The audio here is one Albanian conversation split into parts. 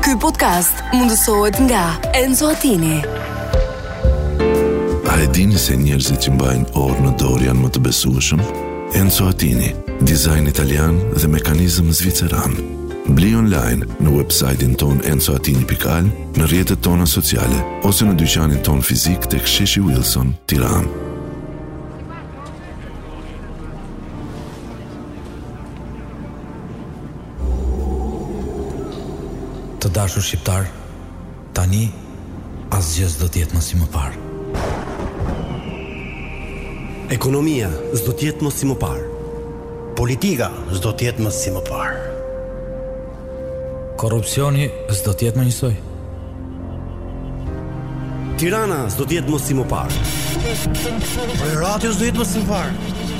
Ky podcast mundësohet nga Enzo Attini. A e dini se njerëzit që mbajnë orë në dorë janë më të besueshëm? Enzo Attini, dizajn italian dhe mekanizëm zviceran. Bli online në website-in ton enzoatini.al, në rjetët tona sociale, ose në dyqanin ton fizik të ksheshi Wilson, tiran. Të dashur shqiptar, tani asgjë s'do të jetë më si më parë. Ekonomia s'do të jetë më si më parë. Politika s'do të jetë më si më parë. Korrupsioni s'do të jetë më njësoj. Tirana s'do të jetë më si më parë. Prerati s'do jetë më si më parë.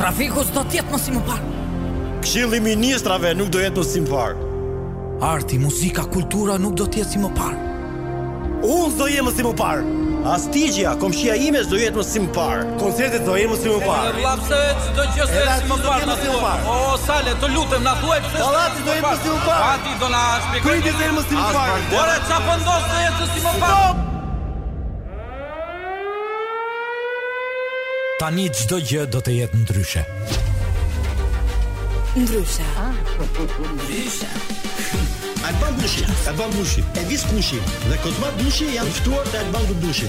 Trafiku s'do tjetë më si më parë. Këshilli i ministrave nuk do jetë më si më parë. Arti, muzika, kultura nuk do të jetë si më parë. Unë s'do jem më si më parë. Astigja, komshia ime s'do jetë më si më parë. Koncertet do jenë më si më parë. Lapse çdo gjë se Edhe si aty më parë s'do na kemi si më thuaj. parë. O sale, të lutem na thuaj pse. Pallati do jetë më si më parë. Ati do na shpjegoj. Kriti do jenë më si më parë. Ora çfarë po ndos se jetë si më parë? Tani çdo gjë do të jetë ndryshe. Ndryshe, Alban Bushi, Alban Bushi, Elvis Bushi dhe Kozmat Bushi janë ftuar te Alban Bushi.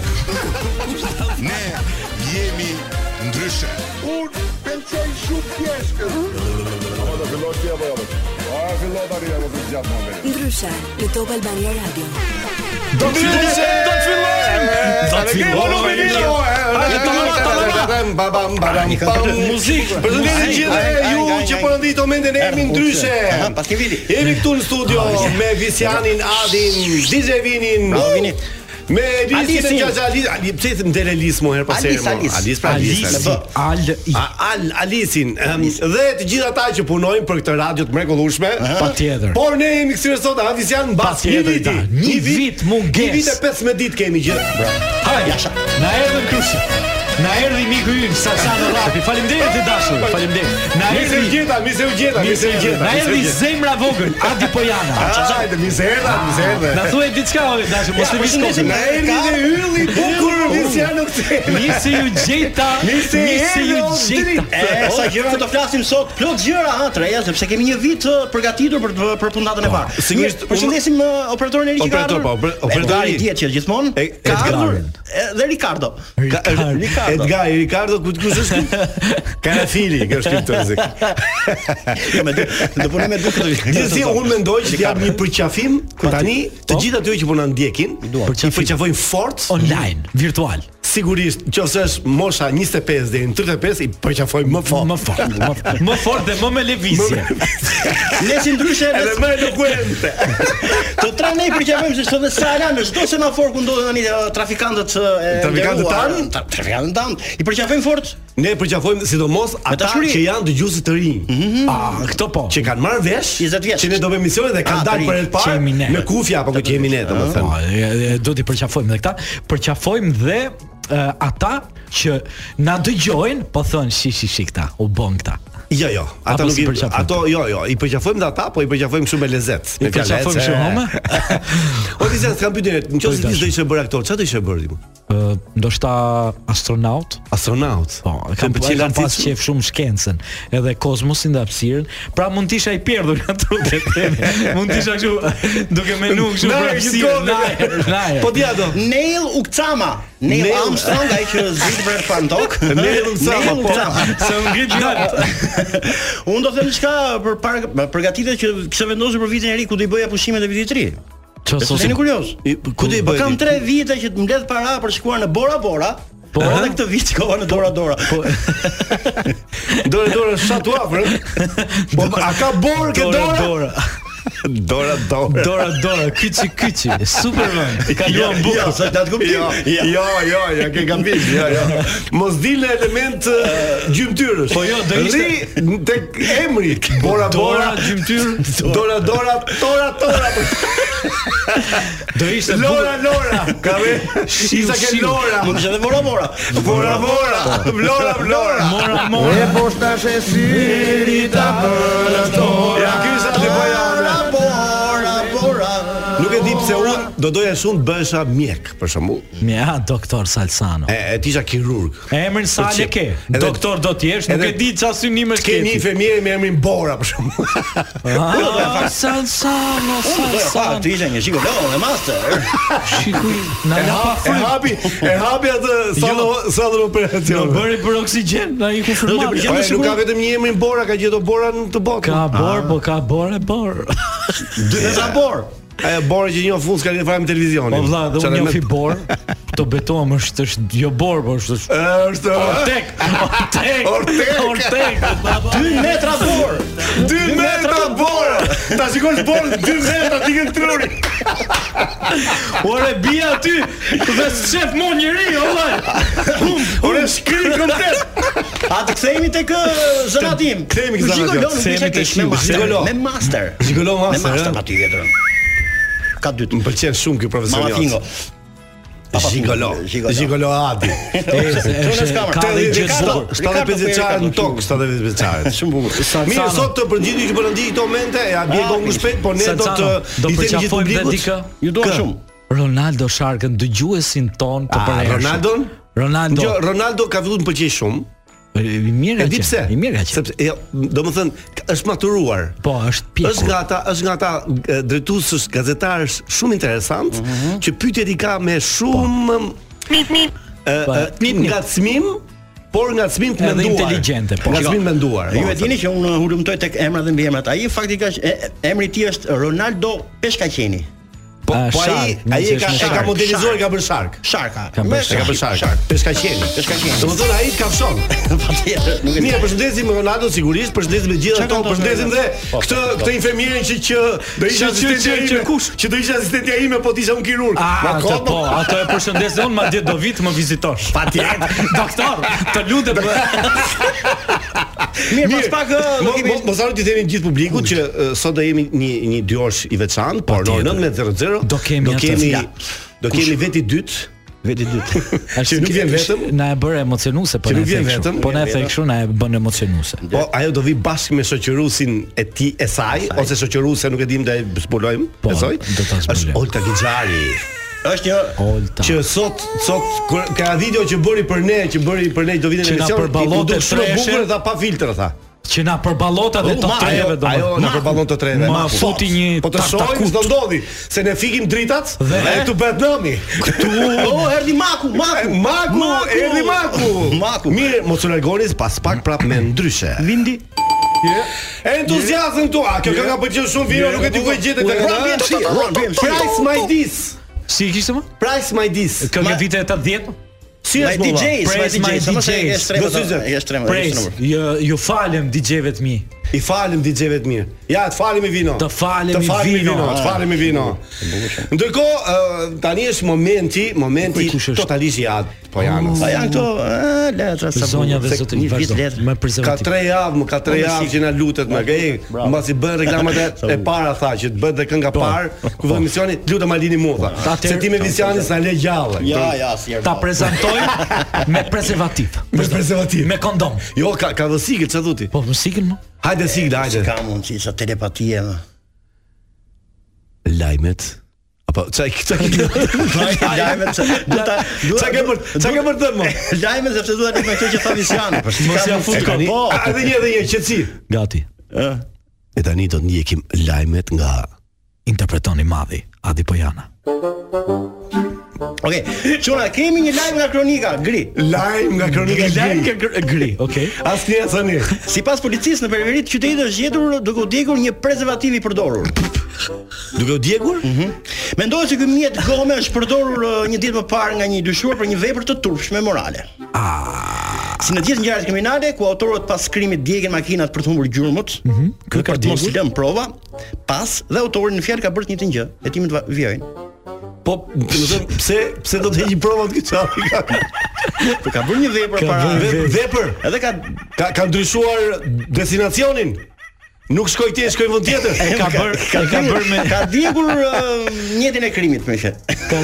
Ne jemi ndryshe. ndryshe në Top Albania Radio. Do të Muzikë, Përshëndetje gjithë ju që po ndit momentin e jemi ndryshe. Pas një viti. Jemi këtu në studio me Visianin, Adin, DJ Vinin. Bravo, Vinit. Me Elisin e Alisin. Gjaxha Alis, Ali, pse them del Elis më herë pas Alis, herë. mo? Alis. Alis pra Alis. Alis, me b. A- Al Alisin em, dhe të gjithë ata që punojnë për këtë radio të mrekullueshme. Patjetër. Por ne jemi kësire sot Adis janë mbas një Patjetër, viti. da. Po, Një vit mungesë. Një vit e 15 ditë kemi gjithë. Hajde, na erdhën kryshi. Na erdhi miku ynë Salsano Rapi. Faleminderit të dashur. Faleminderit. Na Mirë se u erdhi gjeta, mirë se u gjeta, mirë se u gjeta. Na mirë se u erdhi gjeta. zemra vogël Adi Pojana. Hajde, mi se erdha, mi se erdha. Na thuaj diçka o dashur, mos të vish kokën. Na erdhi dhe ylli i bukur Visiano këthe. Mirë se ju gjeta. Mirë se ju erdhe, o gjeta. dritë. E sa gjëra do të flasim sot, plot gjëra ha treja, sepse kemi një vit të përgatitur për të- për puntatën e parë. Po, sigurisht, Duhet- përshëndesim uh, operatorin e Operator, Ricardo. po, oper- operatori. dihet që gjithmonë E- ka Edgarin. ardhur e, dhe Ricardo. Ka- Ricardo. Ricardo. Edgari, Ricardo, ku kush është ky? Karafili, kjo është këtë rrezik. Jo, me dy- Do po, punoj me dy këtu. Gjithsesi unë mendoj që jam një përqafim ku tani të gjithë atyre që po na ndjekin, i Përqafim. përqafojnë fort, Online, virtual. sigurisht, nëse është mosha 25 deri në 35 i përqafojmë më fort. Po, Më fort, më fort, më fort dhe më me lëvizje. Lesi ndryshe Edhe më elokuente. Të tre ne i përqafojmë se sot dhe sala në çdo semafor ku ndodhen tani eh, trafikantët eh, e Trafikantët nderuar, tanë? tra- trafikantët tan. I përqafojmë fort. Ne përqafojmë sidomos ata dashuri. që janë dëgjuesit të rinj. Ah, këto po. që kanë marrë vesh 20 vjeç. që ne do bëjmë misionin dhe kanë Ah, dalë të për ri, herë të parë që jemi ne. me kufja apo që jemi ne domethënë. Po, e- e- do t'i përqafojmë dhe këta. Përqafojmë dhe e, ata që na dëgjojnë, po thonë shi shi shi këta, u bën këta. Jo, jo, ata Apo nuk si i përqafojmë? ato jo, jo, i përqafojmë dhe ata, po i përqafojmë shumë me lezet. I përqafojmë shumë, home? O ti s'kan pyetën, nëse Po, i ti do ishe bërë aktor, çfarë do ishe bërë ti? Ë, eh. ndoshta astronaut. Astronaut. Po, e kam pëlqen pëlqyer kam artist pas shumë? qef shumë shkencën, edhe kozmosin dhe hapësirën, pra mund të isha i perdhur nga trupe teme. Mund të isha kështu duke menuar kështu për Nare, gjithkohë, hapësirën. Najer, najer. Po dia do. Neil Ukcama, Neil, Neil- Armstrong ai që zbrit për të parë në tokë. Neil Ukcama, po. Se u ngrit gat. Unë do të them diçka për par, përgatitje që kisha vendosur për vitin e ri ku do i bëja pushimet e vitit të ri. Ço Sos jeni kurioz. Po, I- Ku do i Po bëj? kam 3 vite që të mbledh para për shkuar në Bora Bora. Po edhe këtë vit shkova në Dora Dora. Po Dorë dorë shatu afër. ë? Po a ka borë ke Dora dora? dora. Dora dora. Dora dora, kyçi kyçi. Super vend. Ka luan Ja, bukur. sa ta të kuptoj. Jo, jo, jo, ja ke gabim, jo, jo. Mos dilë element eh, gjymtyrës. Po jo, do ishte- Rri tek emri Bora Bora Dora gjymtyr. Dora Dora Tora Tora Do ishte Lora Lora. Ka ve. Shiu, Isa ke shiu. Lora. Mund të ishte edhe Bora Bora. Bora Bora. Lora Lora. Mora mora. Ja ky sa të bëja. Bora Bora. Nuk e di pse unë do doja shumë të bëhesha mjek, për shembull. Mja, doktor Salsano. E, e tisha kirurg. Emrin sa Për le çep. ke? Po, Edhe- Doktor do të jesh, nuk edhe- e di çfarë synime Ke një ke. infermier me emrin Bora për shembull. Ah, Salsano, Po, Salsano. ti ishe një shiko, no, e master. Shikuj, na la pa E frymë. hapi, e hapi atë Jo. sallën sallën Do operacion. bëri për oksigjen, na iku Po, frymë. e, Nuk ka vetëm një emrin Bora, ka gjetur Bora në të botë. Ka bor, po ka bor e bor. Po, Dy veta bor. Ajo Bora që një fund s'ka lidhje fare me televizionin. Po vlla, dhe unë Çfarë jam me- fi bor. Të betohem është është jo bor, po është është Është Ortek, Ortek, Ortek. Ortek. baba. 2 metra bor. 2 metra Bora. Ta shikosh Borën 2 metra dikën truri. Ore bia aty, dhe s'shef mon njëri, valla. Ore shkri komplet. A të kthehemi tek ë, zëratim. Kthehemi tek zëratim. Shikolo, nuk ishe Kthehemi tek keq me shiu, master. shikolo. Me master. Shikolo Me master, master ë? eh? patjetër. Ka dytë. Më pëlqen shumë ky profesor. Mama Fingo. Gigolo. Gigolo. Gigolo Adi. Çfarë është kamera? Ka dhe gjë të 74, bukur. 75 vjeçare në tokë, 75 vjeçare. Shumë bukur. Mirë, Salsano. sot të përgjigjesh që po na ndiq këto momente, ja bie gon ngushpet, po ne do të do i themi gjithë përqafojmë dhe publikut. dikë. Ju dua Kë? shumë. Ronaldo Sharkën dëgjuesin ton të A, përhershëm. Ronaldon? Ronaldo. Ah, Jo, Ronaldo ka filluar të pëlqej shumë. I mirë E ka di pse? qenë. I mirë ka qenë. Sepse jo, domethënë k- është maturuar. Po, është Është pjekur. nga ata, është nga ata e, drejtuesës gazetarës shumë interesant, që pyetjet i ka me shumë Po, nip, nip, nip. ngacmim, por ngacmim të Edhe menduar. inteligjente, po. Ngacmim të menduar. Ju e domethënë. dini që unë hulumtoj tek emrat dhe mbiemrat. Ai fakti ka që- e- emri i tij është Ronaldo Peshkaqeni. Po, Ah, po ai shark, ai nëse e ka është e me ka shark. modelizuar ka bërë shark. Sharka. Ka bërë E ka bërë shark. Peshka qeni. Peshka qeni. Domethënë ai ka fshon. Patjetër, nuk e di. Mirë, përshëndesim Ronaldo sigurisht, përshëndesim me gjithë Çka ato, ka ndodhur, përshëndesim dhe këtë këtë infermierin që që do Që- isha që- asistentja që- që ime. kush? Që do isha asistentja ime po të isha un kirurg. A, Ma ato komo. po, ato e përshëndes dhe unë, ma dje do vitë më vizitosh. Patjetër. Doktor, të lutem. Mirë, pas pak ë, do Mo- kemi mo- Mos harroni të themi gjithë publikut që ë, sot do jemi një një dy orësh i veçantë, por në Patjetër. 19:00 Do kemi do atë kemi fila. do kemi veti dytë, veti dytë. që nuk vjen vetëm. Na e bërë emocionuse, po Që na nuk e vjen thekë vetëm. shumë. Po na e thekë shumë, na e bën emocionuse. Po ajo do vi bashkë me shoqërusin e ti e saj ose shoqëruse nuk e dim da e zbulojmë Po, besoj. do ta zbulojmë. Është Olta Gixhari. Është një Olta. Që sot sot kur ka video që bëri për ne, që bëri për ne do vitin Që na përballon do të shumë e treshe. bukur tha pa filtr tha. Që na përballota dhe U, të Oh, ma, treve ajo- do. Ajo na përballon të treve. Ma Ma, po. futi një Po të shohim taktakut. s'do ndodhi, se ne fikim dritat Dhe- dhe këtu bëhet nëmi. Këtu O, erdi Maku, Maku. Maku, erdhi Maku. Maku. Mirë, mos u largoni pas pak prap me ndryshe. Vindi. Entuziazëm këtu. A kjo ka ka pëlqen shumë vino, nuk e di ku e gjetë tek Ron vjen shi, Ron vjen shi. Price my dis. Si e kishte më? Price my dis. Kjo nga vite e 80? Si My DJs, my Praise my DJs. Sa më se e DJs. shtremë, Do syze. e shtremë, e Pres, shtremë. ju, ju falem DJ-ve të mi. I falim DJ-ve të mirë. Ja, të falim i vino. Të falem i Të falim i vino. vino, të falim i vino. Ndërkohë, ë, tani është momenti, momenti Kush është? totalisht i atë po janë. Pa janë këto e, letra sa Zonja dhe se- zotëri, Një vit vazhdo. letra. Me Ka prezervativ. 3 javë, më ka 3 javë që na lutet më gay. Mbasi bën reklamat e- e para tha që të bëhet dhe kënga parë, ku vë emisioni, lutem ma lini mua tha. Po. Ta Se atëherë- ti me Visianin sa le gjallë. Ja, ja, si erdi. Ta prezantojmë me prezervativ. Me prezervativ. Me kondom. Jo, ka ka vësikë çfarë thotë? Po, më sikën më? Hajde sikë, hajde. Ka mundësi sa telepatie. më. lajmet apo çaj çaj Lajmet se do ta çaj ke për çaj ke për të më lajmet sepse duhet të këtë që tha Visiani. Për si Mos ka ja mundësi? fut E ka- tani- po po. edhe një edhe një qetësi Gati. e tani do të ndjekim lajmet nga Interpretoni madhi, Adi po Pojana. Okej. Çuna kemi një lajm nga kronika, gri. lajm nga kronika lajm ke gri, okay. asnjë asani Sipas policisë në periveri të qytetit është gjetur duke u djegur një prezervativ i përdorur. duke u djegur Mendohet se ky mjet gome është përdorur uh, një ditë më parë nga një dyshuar për një vepër të turpshme morale. Si në gjithë ngjarjet kriminale ku autorët pas krimit djegën makinat për të humbur gjurmët, mm -hmm. Ky ka për të mos djegur? lënë prova, pas dhe autori në fjalë ka bërë të njëjtën gjë, hetimin të vjojnë. po do të them pse pse do të heqi provat këtë çapi Po ka bërë një vepër Ka para bërë vepër edhe ka ka ka ndryshuar destinacionin Nuk shkoj ti, shkoj vend tjetër. E ka bër, e ka bër me Ka djegur ë, mjetin e krimit me qe. ka,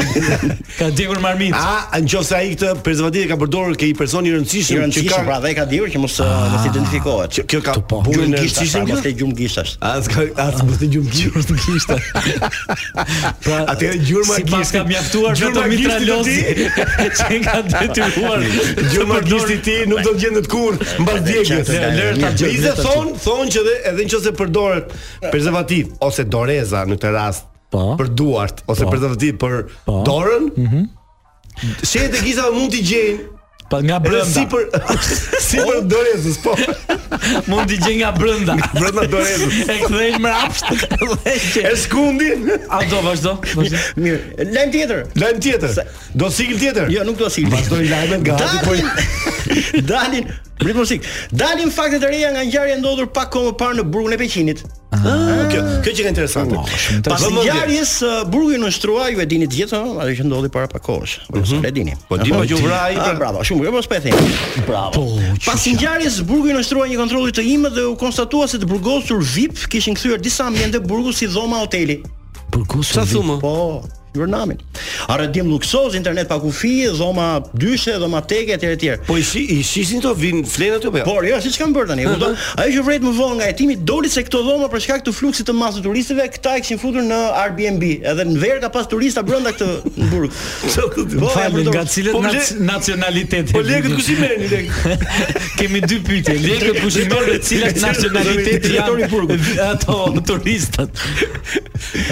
ka djegur marmit. A nëse ai këtë prezervativ e ka përdorur ke i person i I rëndësishëm që rëndësishëm pra ka dhe e ka djegur që mos ë, mos identifikohet. që kjo ka punën Gjumë e gishtash, pra, rëndësishëm. mos kjo? të gjumë gishtash. As ka as mos të gjum gjum. Gjurmë kishte. Pra, Atëherë gjurma si pas gishtit- ka mjaftuar gjurma gjurma gishtit të mitralozi që nga detyruar. Gjurma të përdor- gishti ti nuk do të gjendet kur mbas djegjes. Le- lër ta gjej, Bizë lër ta thon, thon që dhe edhe nëse përdoret prezervativ ose doreza në këtë rast Po. për duart ose Po. prezervativ për Po. dorën. Mhm. Shehet e gishta mund t'i gjejnë Pa nga edhe si brenda. për si për dorezës, po. Mund t'i gjej nga brenda. Brenda dorezës. E kthej mrapsht dhe E që. skundin. A do vazhdo? Vazhdo. Mirë, lajm tjetër. Lajm tjetër. Do sigil tjetër. Jo, nuk do si. Vazhdoj lajmet nga hati, po Dalin, dalin, prit muzik. Dalin fakte të reja nga ngjarja e ndodhur pak kohë më parë në burgun e Peqinit. Ah, kjo kjo që ka Po, interesante. Pas Ah. Vëmendje. ngjarjes ë, burgu i nënshtrua, ju e dini të gjithë, ëh, ajo që ndodhi para pak kohësh. Po mm e dini. Po di Aha. po që vra ai. Ah, bravo, shumë mirë, mos po e them. Bravo. Pas ngjarjes burgu i nënshtrua një kontrolli të imët dhe u konstatua se të burgosur VIP kishin kthyer disa ambiente burgu si dhoma hoteli. Burgosur. thumë? Po, jurnamin. Arredim luksoz, internet pa kufi, dhoma dyshe, dhoma teke etj etj. Po i shi, i shishin to vin flen aty apo jo? Por jo, siç kanë bërë tani, e kupton? Mhm. Ajo që vret më vonë nga hetimi doli se këto dhoma për shkak të fluksit të masë të turistëve, këta e kishin futur në Airbnb, edhe në verë ka pas turista brenda këtë në burg. Po, Falë nga cilët Po, nac- le- nacionalitete. Po lekët kush i merrni lek? Kemi dy pyetje. Lekët kush i merr dhe cilat nacionaliteti Drejtori i janë ato turistat.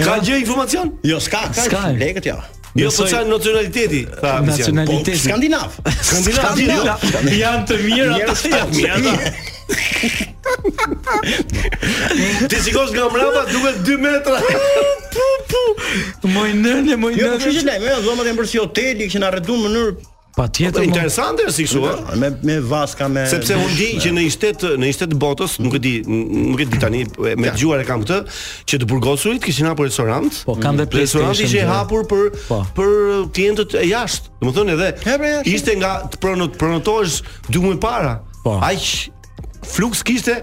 Ka gjë informacion? Jo, s'ka, ka, S'ka. lekët ja. Jo, po Besoj- sa nacionaliteti? Tha Misian. Po, Nacionaliteti. skandinav. Skandinav, Skandinav. Janë të mirë Njerëz ata. të mirë ata. Po, Ti sikosh nga mbrapa duket 2 metra. Moj nënë, moj Jo, po kështu që nënë. lajmë, jo, dhomat janë bërë si hoteli, kishin arreduar në mënyrë Po, Patjetër. mo. Interesante si kështu, ëh. me me vaska me Po. Sepse unë di që në një shtet në një shtet të botës, nuk e di, n- nuk e di tani, e- me dëgjuar e kam këtë, që të burgosurit kishin hapur restorant. Po, kanë dhe Dhe Restoranti PlayStation që e dhe- hapur për Po. për klientët e jashtë. Domethënë edhe E, pra, jashtë. ishte nga të pronot pronotosh 2 muaj para. Po. Aq fluks kishte,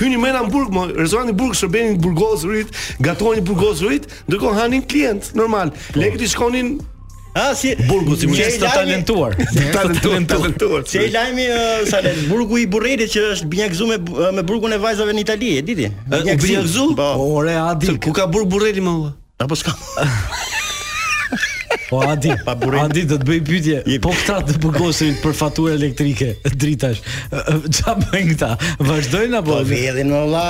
hyni më në Hamburg, mo, restoranti Burg shërbenin burgosurit, gatonin burgosurit, ndërkohë hanin klient normal. Po. Lekët i shkonin Ah, si burgu si më Që Njerëz i të lajmi- talentuar. talentuar, talentuar. Se i lajmi uh, sa le burgu i Burretit që është binjakëzuar me bu- me burgun e vajzave në Itali, e diti? u binjakëzu? Po. Ore Adi, Ku ka burg burreli më valla? Apo s'ka. po Adi, Adi do të bëj pyetje. Po këta të burgosin për faturë elektrike, dritash. Ç'a bëjnë këta? Vazhdojnë apo? Po vjedhin më valla,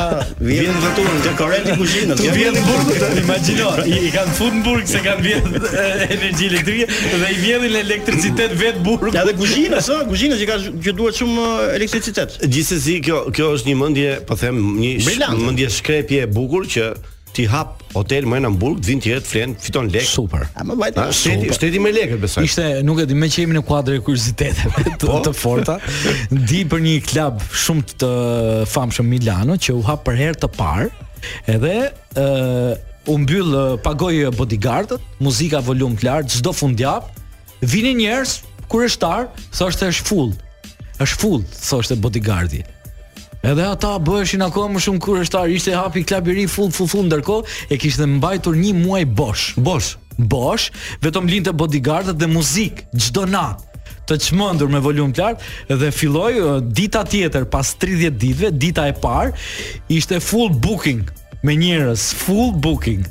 vjedhin veturën te korrenti kuzhinës. Të vjen në burg, imagjino, i, i kanë futur në burg se kanë vjedh e, energji elektrike dhe i vjedhin elektricitet vet burg. Ja dhe kuzhinës, ë, kuzhinës që ka që duhet shumë ë, elektricitet. Gjithsesi kjo kjo është një mendje, po them, një sh- Brillante. mendje shkrepje e bukur që ti hap hotel më në Hamburg, vin ti jet flen, fiton lek. Super. A më vajta. Ha, shteti, shteti me lekët besoj. Ishte, nuk e di, me që jemi në kuadrë e kurioziteteve të, të forta, di për një klub shumë të famshëm Milano që u hap për herë të parë, edhe ë u mbyll ë, pagoi bodyguardët, muzika volum të lartë çdo fundjavë, vinin njerëz kurioztar, thoshte është full. Është full, thoshte bodyguardi. Edhe ata bëheshin akoma më shumë kurioztar, ishte hapi klub i ri full full full ndërkohë e kishte mbajtur një muaj bosh. Bosh, bosh, vetëm linte bodyguardët dhe muzikë çdo natë të çmendur me volum të lartë dhe filloi ë, dita tjetër pas 30 ditëve, dita e parë ishte full booking me njerëz, full booking.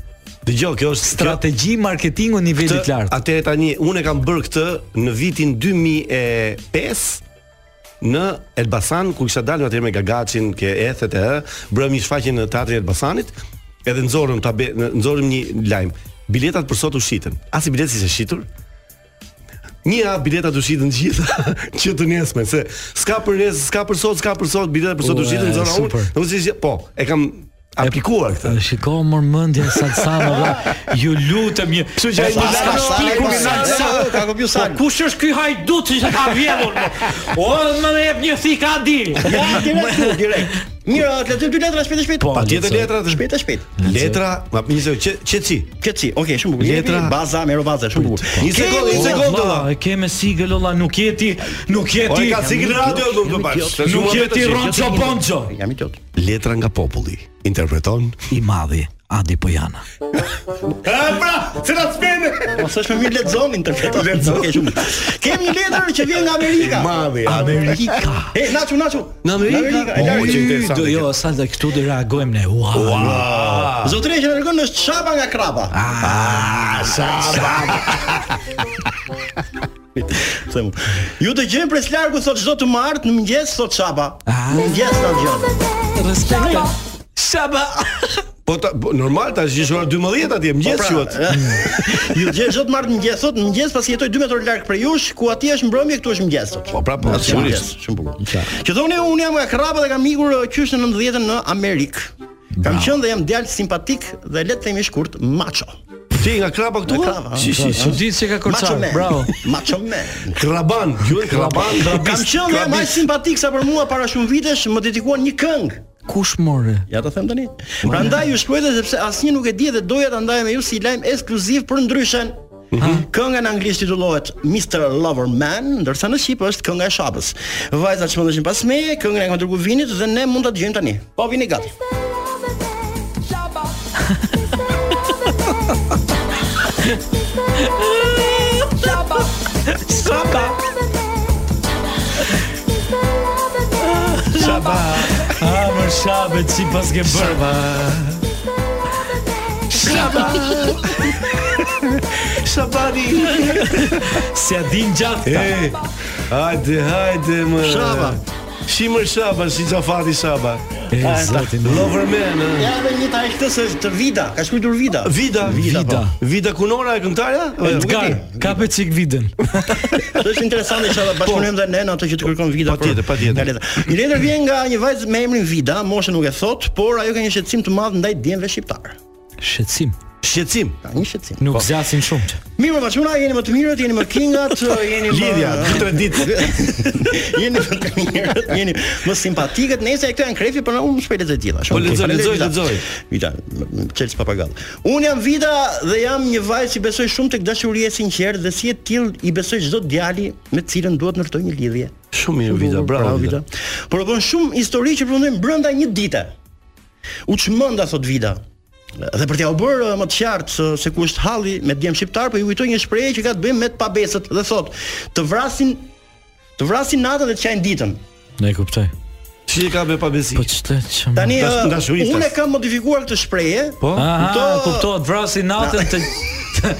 Dgjoj, kjo është Strategji marketingu kjo- niveli këtë- të lartë. Atëherë tani unë e kam bërë këtë në vitin 2005 në Elbasan ku kisha dalë atëherë me Gagacin, ke ethet e ë, bëëm një shfaqje në teatrin e Elbasanit, edhe nxorëm tabe, nxorëm një lajm. Biletat për sot u shitën. As i bileti s'e shitur, Një javë biletat u shitën të gjitha që të nesme, se s'ka për nes, s'ka për sot, s'ka për sot, biletat për sot u Ua, shitën zona unë. super. Nuk si po, e kam aplikuar këtë. Ë, Shiko mërmëndjen Salsano vlla, ju lutem një. Kështu që ai ka Milano- shpikur Milano- Salsano. Ka kopju Po sal. kush është ky hajdut që ka vjedhur? O, më më jep një thik Adil. Ja, direkt, tu, direkt. Mirë, ë, të lexoj dy letra shpejt e shpejt. Po, Patjetër letrat, Shpejt e shpejt. letra, ma nisë që qetësi. Këtë si, okay, shumë bukur. Letra- Jepi, Baza, mero baza, shumë bukur. Po. Një sekondë, një O, sekondë vlla, valla. E ke me sigël olla, nuk je ti, nuk je Po ti. jo, e ka sigël radio do të bash. Nuk je ti Ronço Bonço. Jam idiot. Letra nga populli. Interpreton i madhi Adi Pojana. Ah, pra, se na spene. Mos është më Po, mirë lexon interpreton. Lexon ke shumë. Kem një letër që vjen nga Amerika. Ah, Madhi, Amerika. E naçu naçu. Në Amerika? e Po, lartë. që interesante Do kjo. jo, sa dhe këtu do reagojmë ne. Ua. Ua! Zotëria që largon është çapa nga krapa. Ah, sa Pse mu? Ju të gjejmë pres largu sot çdo të martë në mëngjes sot çapa. Në mëngjes na Pra. dëgjoni. Respekt. Shaba. Po ta, po, normal tash është ora 12 atje, Po mëngjes pra, quhet. Ju të gjejmë çdo të martë në mëngjes sot në mëngjes pasi jetoj 2 metra larg prej jush, ku atje është mbrëmje, këtu është mëngjes sot. Po pra, po, Atë sigurisht. mëngjes, Shumë bukur. Që thoni unë jam nga krapa dhe kam ikur uh, qysh në 90-ën në Amerikë. Kam qenë dhe jam djalë simpatik dhe le të themi i shkurt macho. Ti nga krapa këtu? Nga krapa, Si, si, si. Çudi se ka Macho korçar. man. Bravo. Macho man. Kraban, quhet kraban, Pra, Kam krabist. qenë dhe më simpatik sa për mua para shumë vitesh, më dedikuan një këngë. Kush more? Ja ta them tani. Prandaj ju shkruajte sepse asnjë nuk e di dhe doja ta ndaja me ju si lajm ekskluziv për ndryshen. Kënga në anglisht titullohet Mr. Lover Man, ndërsa në shqip është kënga e shapës. Vajza që mëndeshin pas meje, këngën e kam dërguar Vinit dhe ne mund ta dëgjojmë tani. Po vini gati. Shaba. Ah, më shabe si pas ke bërë. Shaba. Shabani. Se din gjatë. këta. E, hajde, hajde më. Shaba. Shimër Shaba, si Xhafati Shaba. E zotin. Lover man. ë. Ja dhe një taj këtë se të Vida, ka shkruar Vida. Vida, Vida, po. Vida Kunora e këngëtarja? Edgar, kape çik vidën. Po, Është interesante që ta bashkëpunojmë dhe ne në atë që të kërkon Vida. për- Po. Patjetër, patjetër. nga letra. Një letër vjen nga një vajzë me emrin Vida, moshën nuk e thot, por ajo ka një shqetësim të madh ndaj djemve shqiptar. Shqetësim. Shqetësim. Ka një shqetësim. Nuk zjasin shumë. Mirë, më çuna jeni më të mirët, jeni më kingat, eh, jeni më Lidhja, tre ditë. jeni më të mirët, jeni më simpatikët. Nëse këto janë krefi, por unë shpejt lexoj të gjitha. Po, lexoj, lexoj, lexoj. Vita, m- m- Chelsea Papagall. Unë jam Vida dhe jam një vajzë që besoj shumë tek dashuria e sinqertë dhe si e till i besoj çdo djali me të cilën duhet ndërtoj një lidhje. Shumë mirë Vida, bravo Vida. Por bën shumë histori që përfundojnë brenda një dite. U çmenda thot Vida. Dhe për t'ja u bërë ë, më të qartë se, se ku është halli me djem shqiptar, po ju kujtoj një shprehje që ka të bëjë me të pabesët dhe thot, të vrasin të vrasin natën dhe të qajnë ditën. Ne e kuptoj. Si e ka me pabesi? Po ç'të ç'm. Tani Dash- ë, dashuristas. unë e kam modifikuar këtë shprehje, Po. Aha, kupto- Ah, kuptohet vrasi natën të të-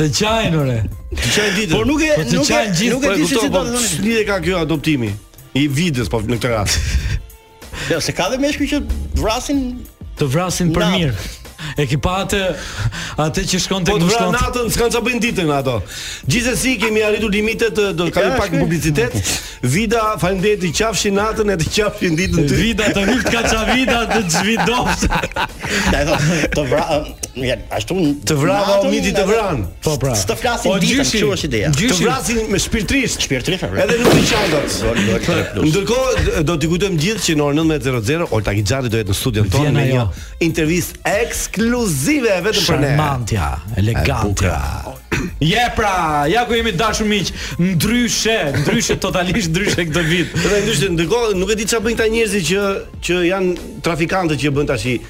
të qajnë ore. Çaj ditën. por nuk e Po të nuk e qajnë gjithë, nuk e Po, di se si kuptoj, do po të thonë. lidhje ka kjo adoptimi i Vidës po në këtë rast. Jo, se ka dhe meshkuj që vrasin Të vrasin për Natën. mirë. E ki pa atë atë që shkon tek Po të vran mushkon. natën, s'kan çfarë bëjnë ditën ato. Gjithsesi kemi arritur limitet, do të kemi Ja, pak shkoj. publicitet. Vida, faleminderit, i qafshin natën e të qafshin ditën ty. Vida të hyrt ka ça vida të zhvidosh. Da e thot, të vra, ë, ja, ashtu Të vrava natën, o miti të edhe- vran. Po pra. S'të flasin ditën, kjo është ideja. Të Gjyshi. vrasin me shpirtrisht. Shpirtrisht, apo? Edhe nuk i qajnë dot. Plus. Ndërkohë do t'ju kujtojmë gjithë që në orën 19:00 Olta Gixhati do jetë në studion tonë Vjen me ajo. një intervistë ekskluzive vetëm për ne. Charmantja, elegante. Je pra, ja ku jemi dashur miq, ndryshe, ndryshe totalisht ndryshe këtë vit. Dhe ndryshe ndërkohë nuk e di çfarë bëjnë këta njerëz që që janë trafikantë që bën tash i-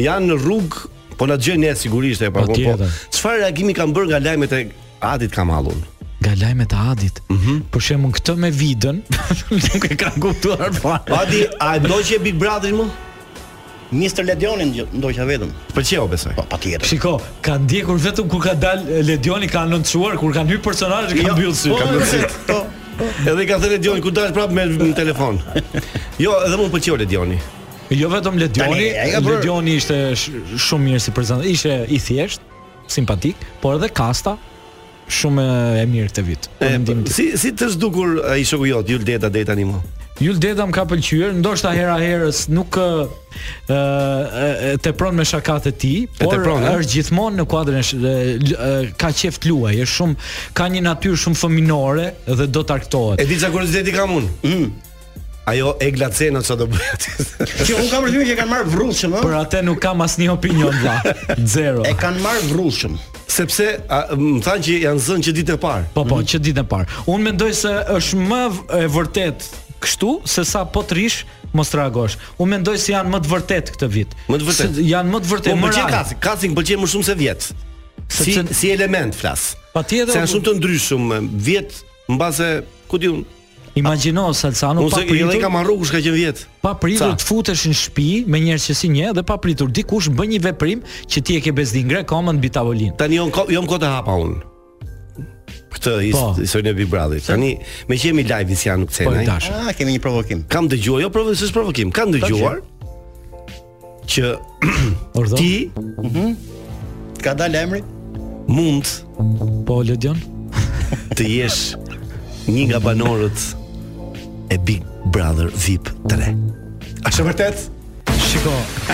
janë në rrugë, po na dëgjojnë ne sigurisht e pa po. po. Patjetër. Çfarë reagimi kanë bërë nga lajmet e Adit Kamallun? Nga lajmet e Adit. Mhm. Për shembull këtë me vidën, nuk e kam kuptuar fare. Adi, a e ndoqje Big Brotherin më? Mr. Ledionin gjë- ndoqja vetëm. Pëlqeu besoj. Po patjetër. Shiko, ka ndjekur vetëm kur ka dal Ledioni ka anoncuar kur kanë hyrë personazhe Jo. ka mbyll sy. ka mbyll sy. Edhe i ka thënë Dioni ku dash prapë me me telefon. Jo, edhe më pëlqeu Ledioni. Jo vetëm Ledioni, Tani, ai ka bërë- Ledioni ishte sh- shumë mirë si prezant, ishte i thjesht, simpatik, por edhe Kasta shumë e mirë këtë vit. Po E, po- Në mendimin tim. Si si të zgdukur ai shoku jot, Jul Deta deri tani më. Jul Deda më ka pëlqyer, ndoshta hera herës nuk ë, ë ë, tepron me shakat e tij, por tepron, e? është gjithmonë në kuadrin e sh- e, l- ë, ka qeft luaj, është shumë ka një natyrë shumë fëminore dhe do E tarktohet. di çka kurioziteti kam unë. Ajo e glaceno çfarë do bëj aty. Që un kam përshtypjen që e kanë marrë vrrushëm, ë? Për atë nuk kam asnjë opinion vlla. Zero. Pra. E kanë marrë vrrushëm. Sepse a, më thanë që janë zënë që ditën e parë. Po po, që ditën e parë. Unë mendoj se është më v- e vërtet kështu se sa po të rish mos tragosh. Unë mendoj se janë më të vërtet këtë vit. Më të vërtet. Se janë më të vërtet. Po më pëlqen real. kasi, kasi më pëlqen më shumë se vjet. Si Sepse- si element flas. Patjetër. Se janë shumë të ndryshëm vjet mbase ku diun. Imagjino Salsano Unë pa se pritur. edhe kam marrë kush ka qenë vjet. pa pritur Ca? të futesh në shtëpi me njerëz që si një dhe pa pritur dikush bën një veprim që ti e ke bezdin ngre komën mbi tavolinë. Tani on ko, jom kota hapa un. Këtë Po. historinë e Big Brotherit. Tani me që jemi live si janë nuk Po i cenaj. dashur. Ah, kemi një provokim. Kam dëgjuar, jo provo, s'është provokim, kam dëgjuar që Ordo. ti Ka dalë emri? mund po Lodion. të jesh një nga banorët e Big Brother VIP 3. A është e vërtet? Shiko, ë,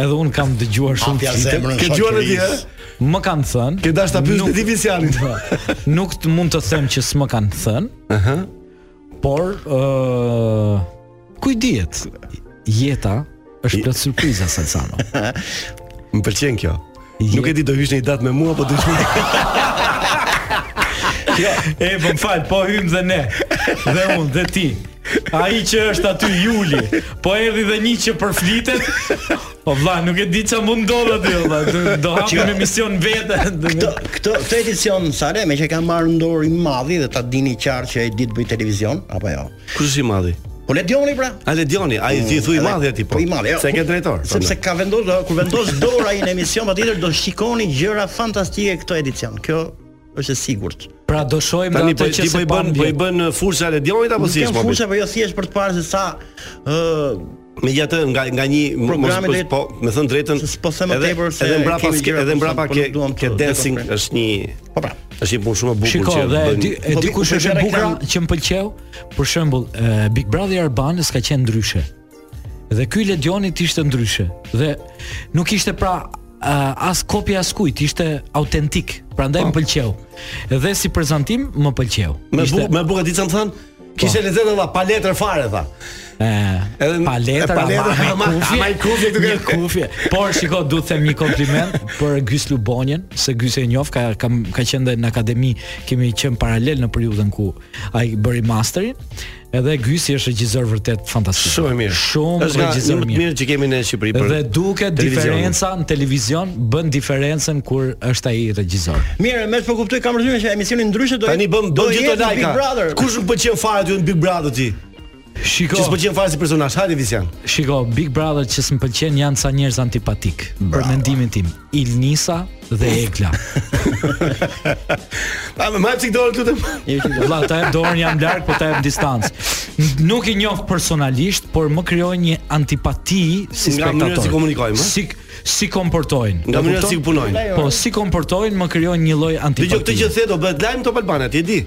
edhe un kam dëgjuar shumë Hapja flite. zemrën. Ke Shoqërisë. dëgjuar ti, ë? Më kanë thënë. Ke dash ta pyes nuk- me Divisianin. Po. Nuk të mund të them që s'më kanë thënë. Ëhë. Por ë kuj dihet? Jeta është plot surpriza Salsano. Më pëlqen kjo. Je- Nuk e di do hysh në një Jo, datë me mua apo do hysh me E, po më falë, po hymë dhe ne Dhe unë, dhe ti Ai që është aty Juli Po erdi dhe një që përflitet Po vlla, nuk e di që mund ndodhë aty vlla. Do- Do hapim emision vete Këtë këtë këtë edicion Sare, me që ka marrë në dorë i madhi dhe ta dini qartë që ai ditë bëj televizion apo jo. Kush është i madhi? Po le djoni pra. A Ledioni, ai ti thuj i Edhe- madhi aty po. Po i madhi. jo. Se ke drejtor. po, Sepse ka vendosur kur vendos dorë ai në emision patjetër do shikoni gjëra fantastike këtë edicion. Kjo është e sigurt. Pra do shojmë tani Tani, po atë që ti po se i pa bën po i bën bën fusha Ledionit apo Nuk si kem është po? fushë apo jo thjesht për të parë se sa ë Megjithatë nga nga një Programi mos- drejt- po, me thënë drejtën. Se s'po them më edhe- tepër se edhe mbrapa kemi s'ke- gjëra edhe për mbrapa sot, po ke nuk duam ke të- dancing të konfrem. është një po pra. është një punë shumë e bukur Shiko, që dhe bën. di, e Po, di vi- kush është po, e reklam- bukra që më pëlqeu Për shembull, e, Big Brother Arban s'ka qenë ndryshe Dhe ky Ledionit ishte ndryshe Dhe nuk ishte pra uh, as kopje as kujt, ishte autentik Prandaj më pëlqeu Dhe si prezantim më pëlqeu Po. Me bu, Ishte- Po. me buka di çam thën? Kishte lezet edhe pa letër fare tha. Edhe- Edhe pa letër, e pa letër, ama- ama i kufje këtu një ke- kufje. Por shiko, duhet të them një kompliment për Gys Lubonjen, se Gys e njoh, ka ka ka qenë dhe në akademi, kemi qenë paralel në periudhën ku ai bëri masterin. Edhe Gysi është regjisor vërtet fantastik. Shumë e mirë. Shumë Është nga regjisor njerëzit mirë. mirë që kemi në Shqipëri për. Dhe duket televizion. diferenca në televizion bën diferencën kur është ai regjisor. Mirë, më po kuptoj kam përshtypjen që emisioni ndryshe do Tani bëm bëm gjithë jetë në Big lajka. Brother. Kush nuk pëlqen fare ty në Big Brother ti? Shiko, Që s'pëlqen fare si personazh. Hajde Visian. Shiko, Big Brother që s'më pëlqen janë ca njerëz antipatik. Për mendimin tim, Ilnisa dhe Egla. A më hap sik dorë lutem. Vlla, ta jep dorën jam larg, po ta jep distancë. N- Nuk i njoh personalisht, por më krijoi një antipati si Nga spektator. mënyra si komunikojnë, ha? Si si komportojnë. Nga E mënyra si kupton? punojnë. Po si komportojnë më krijon një lloj antipatie. Dëgjoj këtë që the do bëhet lajm top Albana, ti e di.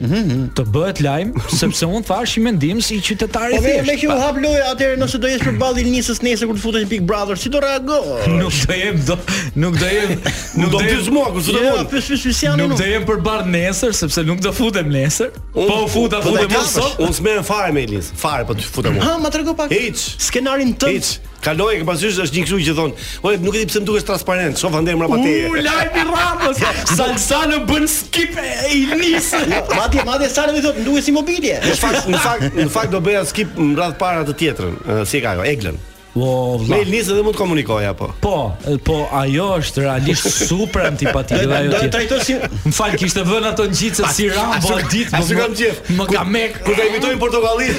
të bëhet lajm, sepse un thash i mendim si qytetari Po i me me që u thjeshtë. hap loja atëherë nëse do jesh përballë Ilnisës nesër kur të futesh Big Brother, si do reagosh? Nuk do jem do, nuk do jem, Nuk do jem- pyes mua, kur s'do Jo, mund. pyes pyes pyes janë Nuk nuk. do jem për bar nesër sepse nuk do futem nesër. Po u futa po futem unë ta kapësh. sot. Unë s'merrem fare me Elis. Fare po ty futem unë. Ha, ma trego pak. Hiç. Skenarin tënd. Hiç. Kaloj e pasysh është një kështu që thon. Oj, nuk e di pse më dukesh transparent. Shoh andër mbrapa teje. U lajmi Ramës. po. Salsano bën skip e Ilnisë. Madje madje sa do thotë nduhet si mobilje. Në fakt, në fakt, në fakt do bëja skip në radh para të tjetrën. Ë, Si e ka ajo, Eglën. Po, Me vlla. Elnis edhe mund të komunikoj apo. Po, po ajo është realisht super antipatike dhe ajo Do të tjetër. trajtoj si Më fal, kishte vënë ato ngjitse si Rambo atë ditë. Ashtu më- kam qef. Më Kur- ka mek. Kur ta imitojnë portokallin.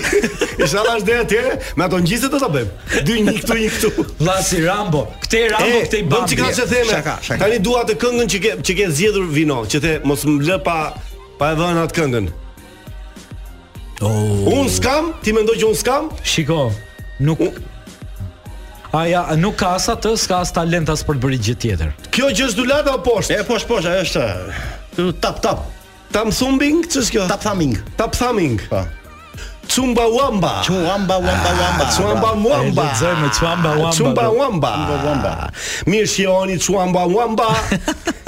Inshallah është deri atje, me ato ngjitse do ta bëjmë. Dy një këtu, një këtu. Vlla si Rambo. Kte Rambo, kte i bëm çka se theme. Shaka, shaka. Tani dua atë këngën që ke që ke zgjedhur vino, që the mos më lë pa pa e vënë atë këngën. Oh. Un skam, ti mendoj që un skam? Shiko, nuk U- Aja nuk ka as atë, s'ka as talent as për të bërë gjë tjetër. Kjo që është dulata o poshtë? E po. posh posh, ajo është uh, tap tap, Tam thumbing, ç'është kjo? tap thumbing. Tap thumbing. Po. Cumba wamba. Chuamba wamba wamba. Cumba Bravo. E wamba. lexoj me Chuamba Wamba, Cumba do. wamba. Chuamba Wamba. Mirë shihoni Cumba wamba.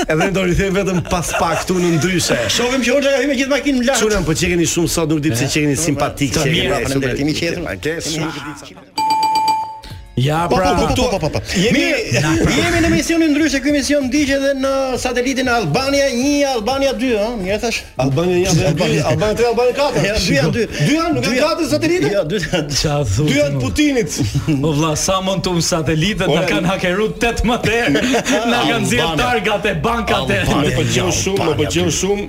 Edhe do i them vetëm pas pak këtu në ndryshe. Shohim që Hoxha ka hyrë me gjithë makinën lart. Çunën po çekeni shumë sot, nuk di pse çekeni simpatik, Të çekeni. mirë, faleminderit. Jemi Ke qetur. shumë- Jemi- Ja Po, pra. po, po, po, po, po. Jemi, jemi në misionin ndryshe, ky mision ndiqet edhe në satelitin Albania 1, Albania 2, ëh, mirë thash. Albania janë dhe Albania, Albania 3, Albania 4. Ja, dy janë dy. Po, Dy janë, nuk janë katër satelite? Jo, dy janë. Ça thu? Dy janë Putinit. Po vlla, sa mund të um satelitët na Ore. kanë hakeru 18 herë. Na kanë zirë Albania. targat e bankat e. Më pëlqeu shumë, më pëlqeu shumë.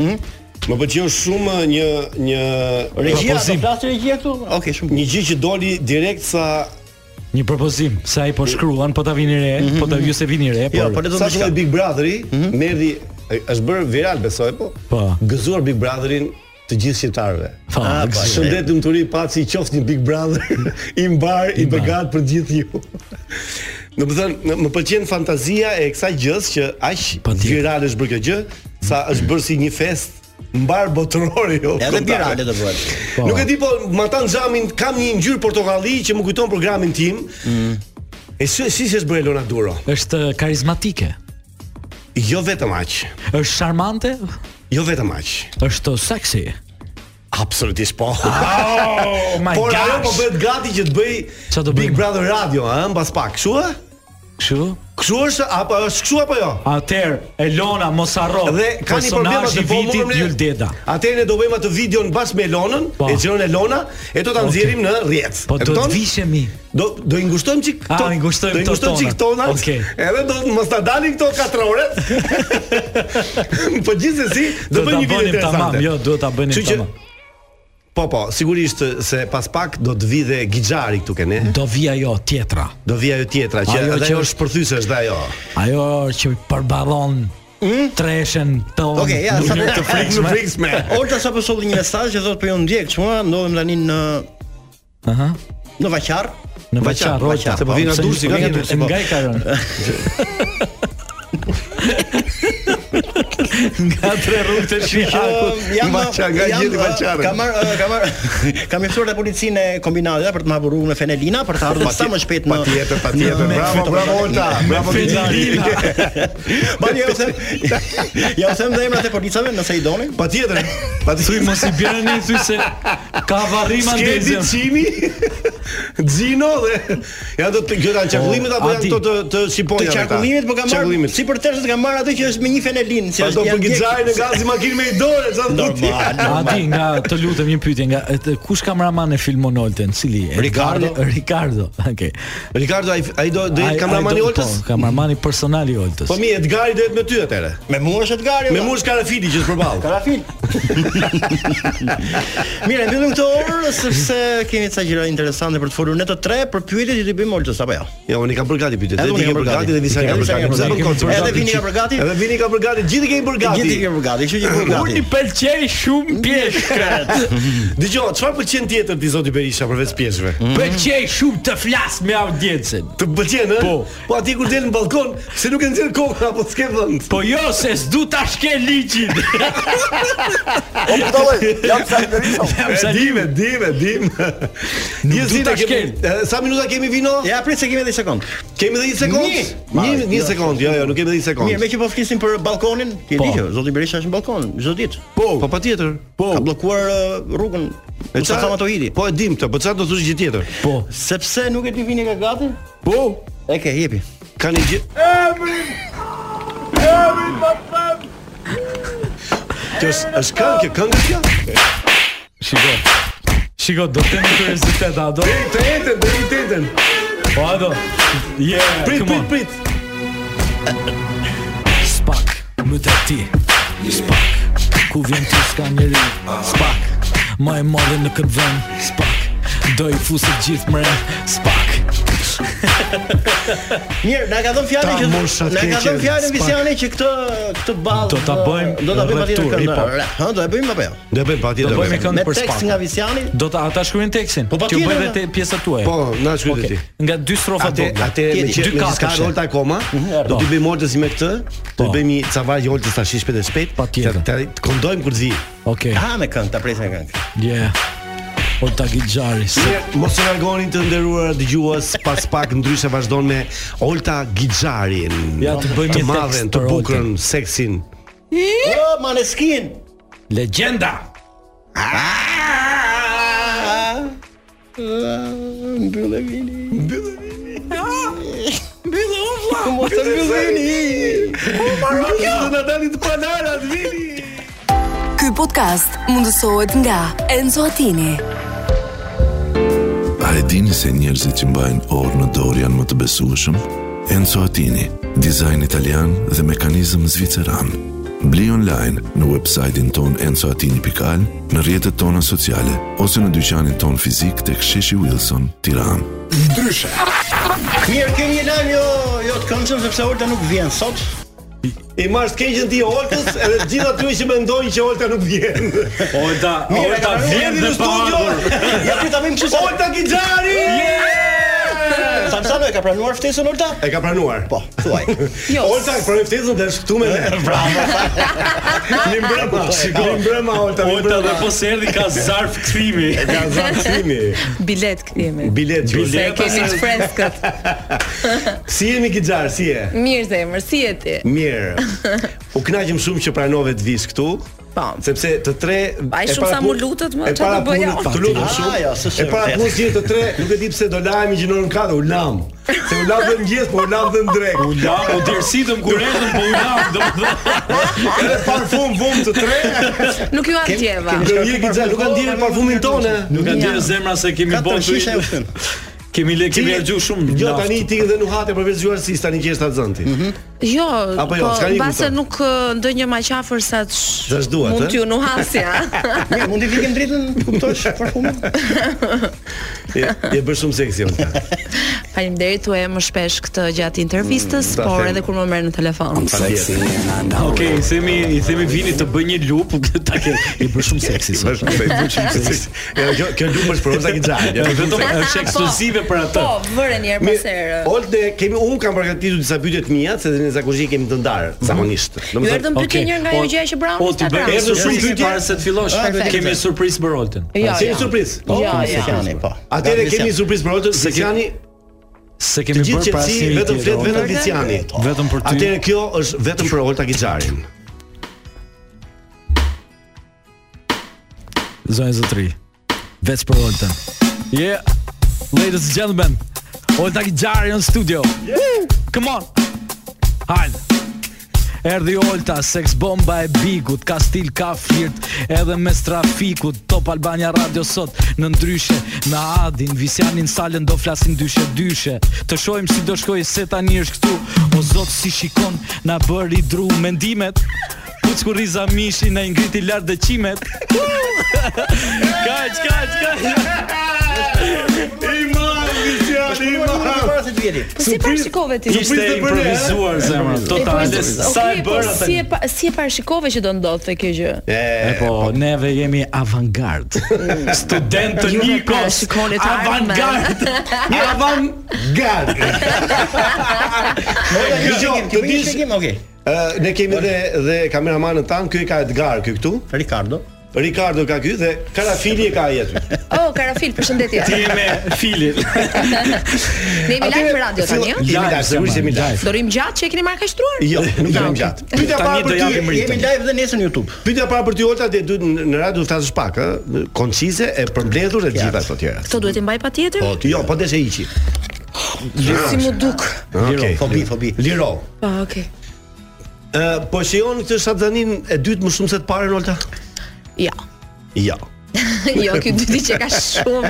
Hmm? Më pëlqeu shumë një një Po, Regjia, do flas regjia këtu? Okej, shumë. një gjë që doli direkt sa Një propozim, se ai po shkruan, po ta vini re, po ta ju se vini re, Jo, po por le të sa diçka. shkoi Big Brotheri, merri është bërë viral besoj po. Po. Gëzuar Big Brotherin të gjithë shqiptarëve. Po, Ah, gëzim. po, Shëndet lumturi paci qoftë një Big Brother i mbar i begat për gjithë ju. Do të thënë, më pëlqen fantazia e kësaj gjës që aq Patjetër. virale është bërë kjo gjë, sa është bërë si një fest mbar botërore jo. Edhe kombëtare. pirale do bëhet. Nuk e di po Matan Xhamin kam një ngjyrë portokalli që më kujton programin tim. E si si s'është bërë Elona Duro? është karizmatike. Jo vetëm aq. Është charmante, Jo vetëm aq. është sexy. Absolutisht po. Oh my Por ajo po bëhet gati që të bëj Qa do Big bëjmë? Brother Radio, ëh, mbas pak. Kështu ë? Kështu? Kështu është apo është kështu apo jo? Atër, Elona mos harro. Dhe ka një problem atë personazhi i po vitit morëm ne- Yul Deda. Atëherë ne do bëjmë atë videon bashkë me Elonën, Po. e xhiron Elona, e do ta Okej. nxjerrim në rrjet. Po E do të kupton? vishemi. Do do i ngushtojmë çik Ah, to- i ngushtojmë Do i to ngushtojmë çik tonat. tonat. Okej. Edhe do mos ta dalin këto katrore. po gjithsesi Do do ta bëjmë një video bënim tamam, interesante. jo, duhet ta bënim Kështu që- tamam. Po po, sigurisht se pas pak do të vi dhe Gixhari këtu ke ne. Do vi ajo tjetra. Do vi ajo tjetra që Ajo edhe që ajo është- është përthysë është dhe ajo. Ajo që përballon Mm? treshen tonë. Okej, ja, sa në të frikshme. frikshme. Olta sapo po solli një mesazh që thotë po ju ndjek, çmua, ndodhem tani në Aha. në Vaqar. Në Vaçar, Roqa. se po vi nga Durrësi, nga nga Durrësi, po. Nga i ka rënë. Nga tre rrugët e Shqipërisë. Ëm, jam Vaçar, nga jam, gjeti ë, Vaçarën. Kam marr ë, kam marr kam mësuar te policinë e kombinatit për të më hapur rrugën e Fenelina për të ardhur sa më shpejt në Patjetër, patjetër. në- Bravo, bravo Olta. Bravo Gixhari. Bani ja u them. Ja u them dhe emrat e policave nëse i doni. Patjetër. Thuj Patjetër. mos i bjerëni, thuj se ka varrima Skedi ndezëm. Çimi, Xino dhe ja do të gjëra çarkullimet apo a janë di. këto të të shipojnë. Të qarkullimit po kam marr si për tërësit kam marr atë që është me një Fenelin, si Sa do është për janë djeg- Gixharin e gazi makinë me i dorë, sa do ti. A di nga të lutem një pyetje nga et, kush kameraman e filmon Olten? Cili? Ricardo. Edgardo? Ricardo. Okej. Ricardo ai ai do do Ai- jetë ai kameramani i do- Oltës? Po, kameramani personal i Oltës. Po mi Edgari do jetë me ty atëre. Me mua është Edgari. Me valla. mua Skarafili që është përballë. Karafil. Mirë, mbyllim këtë orë sepse kemi ca gjëra interesante për të folur ne të tre për pyetjet që i bëjmë Oltës apo jo. Jo, unë i kam bërë gati pyetjet. Edhe Edhe ti unë i ke kam bërë bërë gati dhe gati. Visa Edhe ka bërë gati. Visa ka bërë Pse gati. bën koncert? Edhe Vini ka bërë gati. Edhe Vini ka bërë gati. Gjithë i kemi bërë gati. Gjithë kemi për gati, kështu që për Unë i gati. pëlqej shumë pjeshkët. Dgjoj, çfarë pëlqen tjetër ti zoti Berisha përveç pjeshkëve? Pëlqej shumë të flas me audiencën. Të pëlqen, ë? Po. Po aty kur del në balkon, se nuk e nxjerr kokën apo s'ke vend. Po jo se s'du ta shke ligjin. o E jam sa dim, e dim, e dim. Një du ta kemi. shkel. e, Sa minuta kemi vino? Ja prit se kemi edhe një sekond. Kemi edhe 1 sekond. Një. Një, një Jo. sekond. Jo, jo, nuk kemi edhe 1 sekond. Mirë, me që po flisim për balkonin, ti e Po. di që zoti Berisha është në balkon çdo ditë. Po patjetër. Ka bllokuar ë, rrugën Mustafa Matohidi. Po e dim këtë, po çfarë do thosh gjë tjetër? Po, Sepse nuk e di vini ka gati? Po. E ke jepi. Ka një gjë. Kjo është është këngë, kjo këngë është kjo. shiko. Shiko, do të më kuriozitet a do? Deri të enten, deri të enten. Po a do? Yeah, Prit, come on. prit, prit. Spak, më të ti Spak, ku vjen ti s'ka njëri Spak, ma e madhe në këtë vend Spak, do i fusit gjithë mre Spak, Mirë, na ka Ta dhënë fjalën që moshat na ka keqe, dhënë fjalën spak. Visiani që këtë këtë ballë Do ta bëjmë do ta bëjmë edhe patjetër tur, këngë. hip hop. Ha, do e bëjmë apo jo? Do bëjmë do patjetër. bëjmë bëjmë. këngë Me për tekst Spak nga Visiani, Do ta ata shkruajnë tekstin. Po, Kjo patjetër, bëhet na. te pjesa tuaja. Po, na shkruaj ti. Nga dy strofa Atë dobla. atë me Tjetër. që Dy me katër ska she. rolta akoma, do po. t'i bëjmë ortës me këtë, do Po. t'i bëjmë një cavall oltës tash shpejt e shpejt. Patjetër. ta- ta- Të kondojmë kur të vi. Okej. Ha me këngë, ta presim me këngë. Yeah. Olta Gixhari. se- Mirë, Mos e largoni të nderuar dëgjues, pas pak ndryshe vazhdon me Olta Gixharin. Ja, të bëjmë të një madhen, tekst të për bukurën, seksin. O, Maneskin. Legjenda. Mbyllë vini. Mbyllë Ku mos e mbyllini. Ku marrë kjo? Do na dani të panarat vini. Ky podcast mundësohet nga Enzo Attini. A e dini se njerëzit që mbajnë orë në dorë janë më të besueshëm? Enzo Attini, dizajn italian dhe mekanizëm zviceran. Bli online në websajtin ton enzoatini.al, në rjetët tona sociale, ose në dyqanin ton fizik të ksheshi Wilson, tiran. Ndryshe. Mirë, kemi një lajm jo jo të këndshëm sepse Olta nuk vjen sot. I marr skeqën ti Oltës edhe të gjithë aty që mendojnë që Olta nuk vjen. Olta, Mirë, Olta ka kaluar vjen edhe dhe në pa studio. ardhur. Ja ti ta vim kështu. Jo. Olta Kigjari! Samsano e ka pranuar ftesën Olta? E ka pranuar. Po, thuaj. Jo. Olta e pranoi ftesën dhe është këtu me ne. Bravo. Mi mbrëma, shiko. Mi mbrëma Olta, mi Olta mbrëma. dhe po se erdhi ka zarf kthimi. Ka zarf kthimi. Bilet kthimi. Bilet, Se e kemi të freskët. Si jemi Kigjar, si je? Mirë zemër, si je ti? Mirë. U kënaqem shumë që pranove të vish këtu. Po. Sepse të tre Ai e shumë para sa mu pun- lutet, më, e çfarë para do bëja punës- unë? Të lutem Ah, shumë. jo, s'është e para vërtet. punës jemi të tre, nuk e di pse do lajmi gjinonën katër, u lam. Se u lam dhe mëngjes, po u lam dhe në drek. U lam, u dërsitëm kur erdhëm, po u lam, domethënë. Edhe parfum vum të tre. Nuk ju argjeva. Kemi ndjerë Kigjar, nuk kanë ndjerë parfumin tonë. Nuk ka ndjerë zemra se kemi Katër bën shishe e këtu. Kemi le kemi harxhu shumë. Jo naft. Mhm. tani ti dhe nuhate përveç zgjuarësisë tani që është atë zënti. Jo, Apo jo, po, s'ka një mbase kuptim. nuk ë, ndonjë më qafër sa të sh- Sa s'duhet, Mund ë? t'ju nuhasja. Mirë, mund të vikim dritën, kuptosh parfumin? Je je bërë shumë seksi unë. Faleminderit tuaj më shpesh këtë gjatë intervistës, Mm, ta por them. edhe kur më merr në telefon. Okej, i themi i themi vini të bëj një lup, ta ke i bër shumë seksi. Bësh Ja, kjo Jo, kjo lup është për jo. Olta Kigjar. ja, Vetëm po. shumë seksi. është ekskluzive për atë. Po, vëre një herë pas here. Olde, kemi un kam përgatitur disa pyetje të mia, se ne zakonisht i kemi të ndarë Mhm. zakonisht. Ju erdhën pyetje njërë nga ajo gjëja që Brown Po ti s'ta bëj bra. erdhën shumë pyetje para se të fillosh. Ah, perfekt. Kemi surprizë për Oltën. Jo, A, kemi jo. surprizë? Po, Jo, jo. Atëherë kemi një surprizë për Oltën, Se Visiani. Se kemi të gjithë bërë para qetësi, si vetëm flet vetëm Visiani. Vetëm për ty. Atëherë kjo është vetëm për Olta Gixharin. Zonjë zotri. Vetë për Oltën. Yeah. Ladies and gentlemen, Olta Gjari në studio. Woo! Come on. Hajde. Erdi Olta, seks bomba e bigut Ka stil, ka flirt, edhe mes trafikut Top Albania Radio sot në ndryshe Në adin, visjanin salen do flasin dyshe dyshe Të shojmë si do shkoj se tani është këtu O zot si shikon, na bëri dru Mendimet, puç kur riza mishi Na ingriti lart dhe qimet Kaq, kaq, kaq. I marr Visiani, i marr. Po si parashikove ti? Ishte improvisuar zemra, Po po, totale. Sa e bëra Si tani? e pa- si e parashikove që do ndodhte kjo gjë? E po, neve jemi avantgard. Student të Ju me Nikos. parashikoni të ardhmen. Avantgard. Avantgard. Dgjoj, Dgjoj, jo, të dish Shqikim, okay. Ë, ne kemi dhe dhe kameramanën tan, ky e ka Edgar ky këtu. Ricardo. Ricardo ka ky dhe Karafili e ka ai aty. Oh, Karafil, përshëndetje. Ti je me filin. Ne jemi live në radio tani, eh? Jemi ë? live, sigurisht jemi live. Do rim gjatë që e keni marrë kaqtruar? Jo, nuk jam gjatë. Pyetja para për ty, Jemi live dhe nesër në YouTube. Pyetja para për ty Olta, ti duhet në- në radio të flasësh pak, ë, koncize e përmbledhur e gjitha këto tjera. Kto duhet i mbaj patjetër? Po, ti jo, po deshe hiqi. Si mu duk. Ah, Okej. Fobi, fobi. Liro. Po, okay. Ë, po shijon këtë shatzanin e dytë më shumë se të parën Olta? Ja. Jo. jo, ky dyti që ka shumë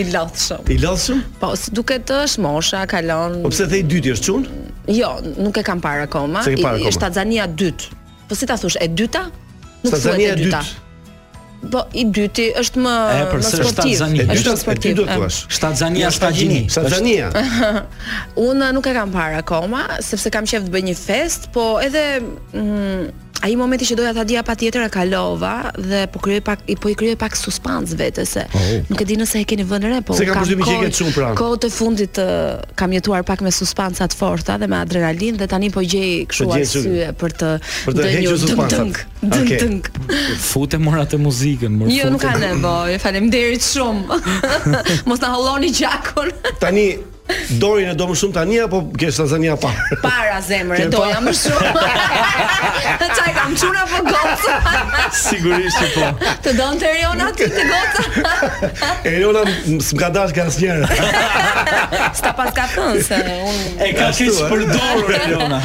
i lodhshëm. I lodhshëm? Po, si duket është mosha, kalon. Po pse the i dyti është çun? Jo, nuk e kam parë akoma. Se ke parë I- akoma. Është Tanzania e dytë. Po si ta thosh, e dyta? Nuk thuhet Tanzania e e dyta. Po i dyti është më E për më së sportiv. Shtazania. Është më sportiv. e. Shtazania, Shtagjini. Shtazania. Unë nuk e kam parë akoma, sepse kam qef të bëj një fest, po edhe mm, ai momenti që doja ta dija patjetër e kalova dhe po krijoj pak i po i krijoj pak suspans vetes se Oh. nuk e di nëse e keni vënë re, po Se kam përshtypjen që e kohë- ke shumë pranë. Kohë të fundit të, kam jetuar pak me suspanca të forta dhe me adrenalin dhe tani po gjej kështu Po gjej kështu- arsye për të për të ndonjë hequr suspansat. dëng, dëng, Okej. dëng. Fute mora të muzikën, mor. Jo, nuk ka fute. nevojë. Faleminderit shumë. Mos na holloni gjakun. Tani Dorin e do më shumë tani apo ke Tanzania parë? Para zemrën Ke doja pa- më shumë. Çaj ka Jam çuna po goca. Sigurisht që po. Të donte Riona ti të goca. Eriona m- s'm ka dashur ka asnjëherë. Sta pas ka thënë se unë E ka keq eh? përdorur Eriona.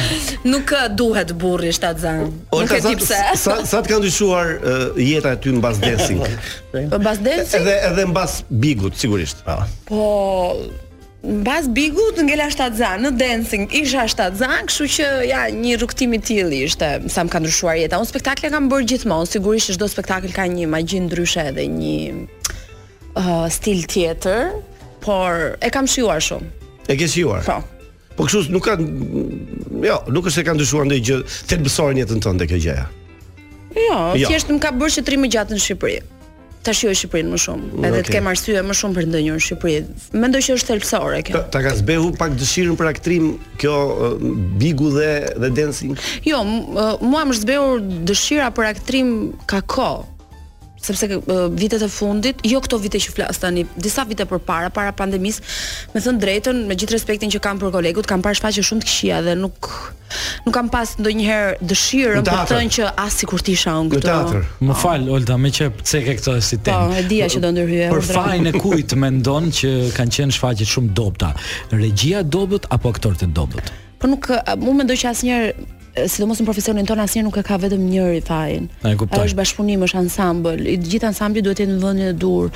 nuk ë, duhet burri shtatzan. Nuk Olta, e di pse. sa sa të ka ndryshuar ë, jeta e ty mbas dancing? Mbas dancing? Edhe edhe mbas bigut sigurisht. Po mbas bigut ngela shtatzan në dancing isha shtatzan, kështu që ja një rrugtim i tillë ishte sa më ka ndryshuar jeta. Unë spektakle kam bërë gjithmonë, sigurisht çdo spektakël ka një magji ndryshe edhe një ë, stil tjetër, por e kam shijuar shumë. E ke shijuar. Po. Po kështu nuk ka jo, nuk është se ka ndryshuar ndonjë gjë thelbësore në jetën tënde kjo gjëja. Jo, Jo. thjesht më ka bërë qëtrim më gjatë në Shqipëri. Ta shijoj Shqipërinë më shumë, edhe Okej. të kem arsye më shumë për ndonjë në Shqipëri. Mendoj që është thelbësore kjo. Ta, ta ka zbehu pak dëshirën për aktrim kjo ë, bigu dhe dhe dancing. Jo, m- ë, mua më zbehur dëshira për aktrim ka kohë sepse ë, vitet e fundit, jo këto vite që flas tani, disa vite përpara, para pandemisë, me thënë drejtën, me gjithë respektin që kam për kolegut, kam parë shfaqje shumë të këqija dhe nuk nuk kam pas ndonjëherë dëshirën Në për të teatr. thënë që as sikur të isha unë këtu. Më fal Olta, më që pse ke këtë si temë. Po, e dija që do ndërhyje, Për urdhra. fajin e kujt mendon që kanë qenë shfaqjet shumë dobta? Regjia e dobët apo aktorët e dobët? Po nuk, a, unë mendoj që asnjëherë e, sidomos në profesionin tonë asnjëherë nuk e ka vetëm njëri fajin. E kuptoj. Ajo është bashkëpunim, është ansambël. I gjithë ansambli duhet të jetë në vendin e dur.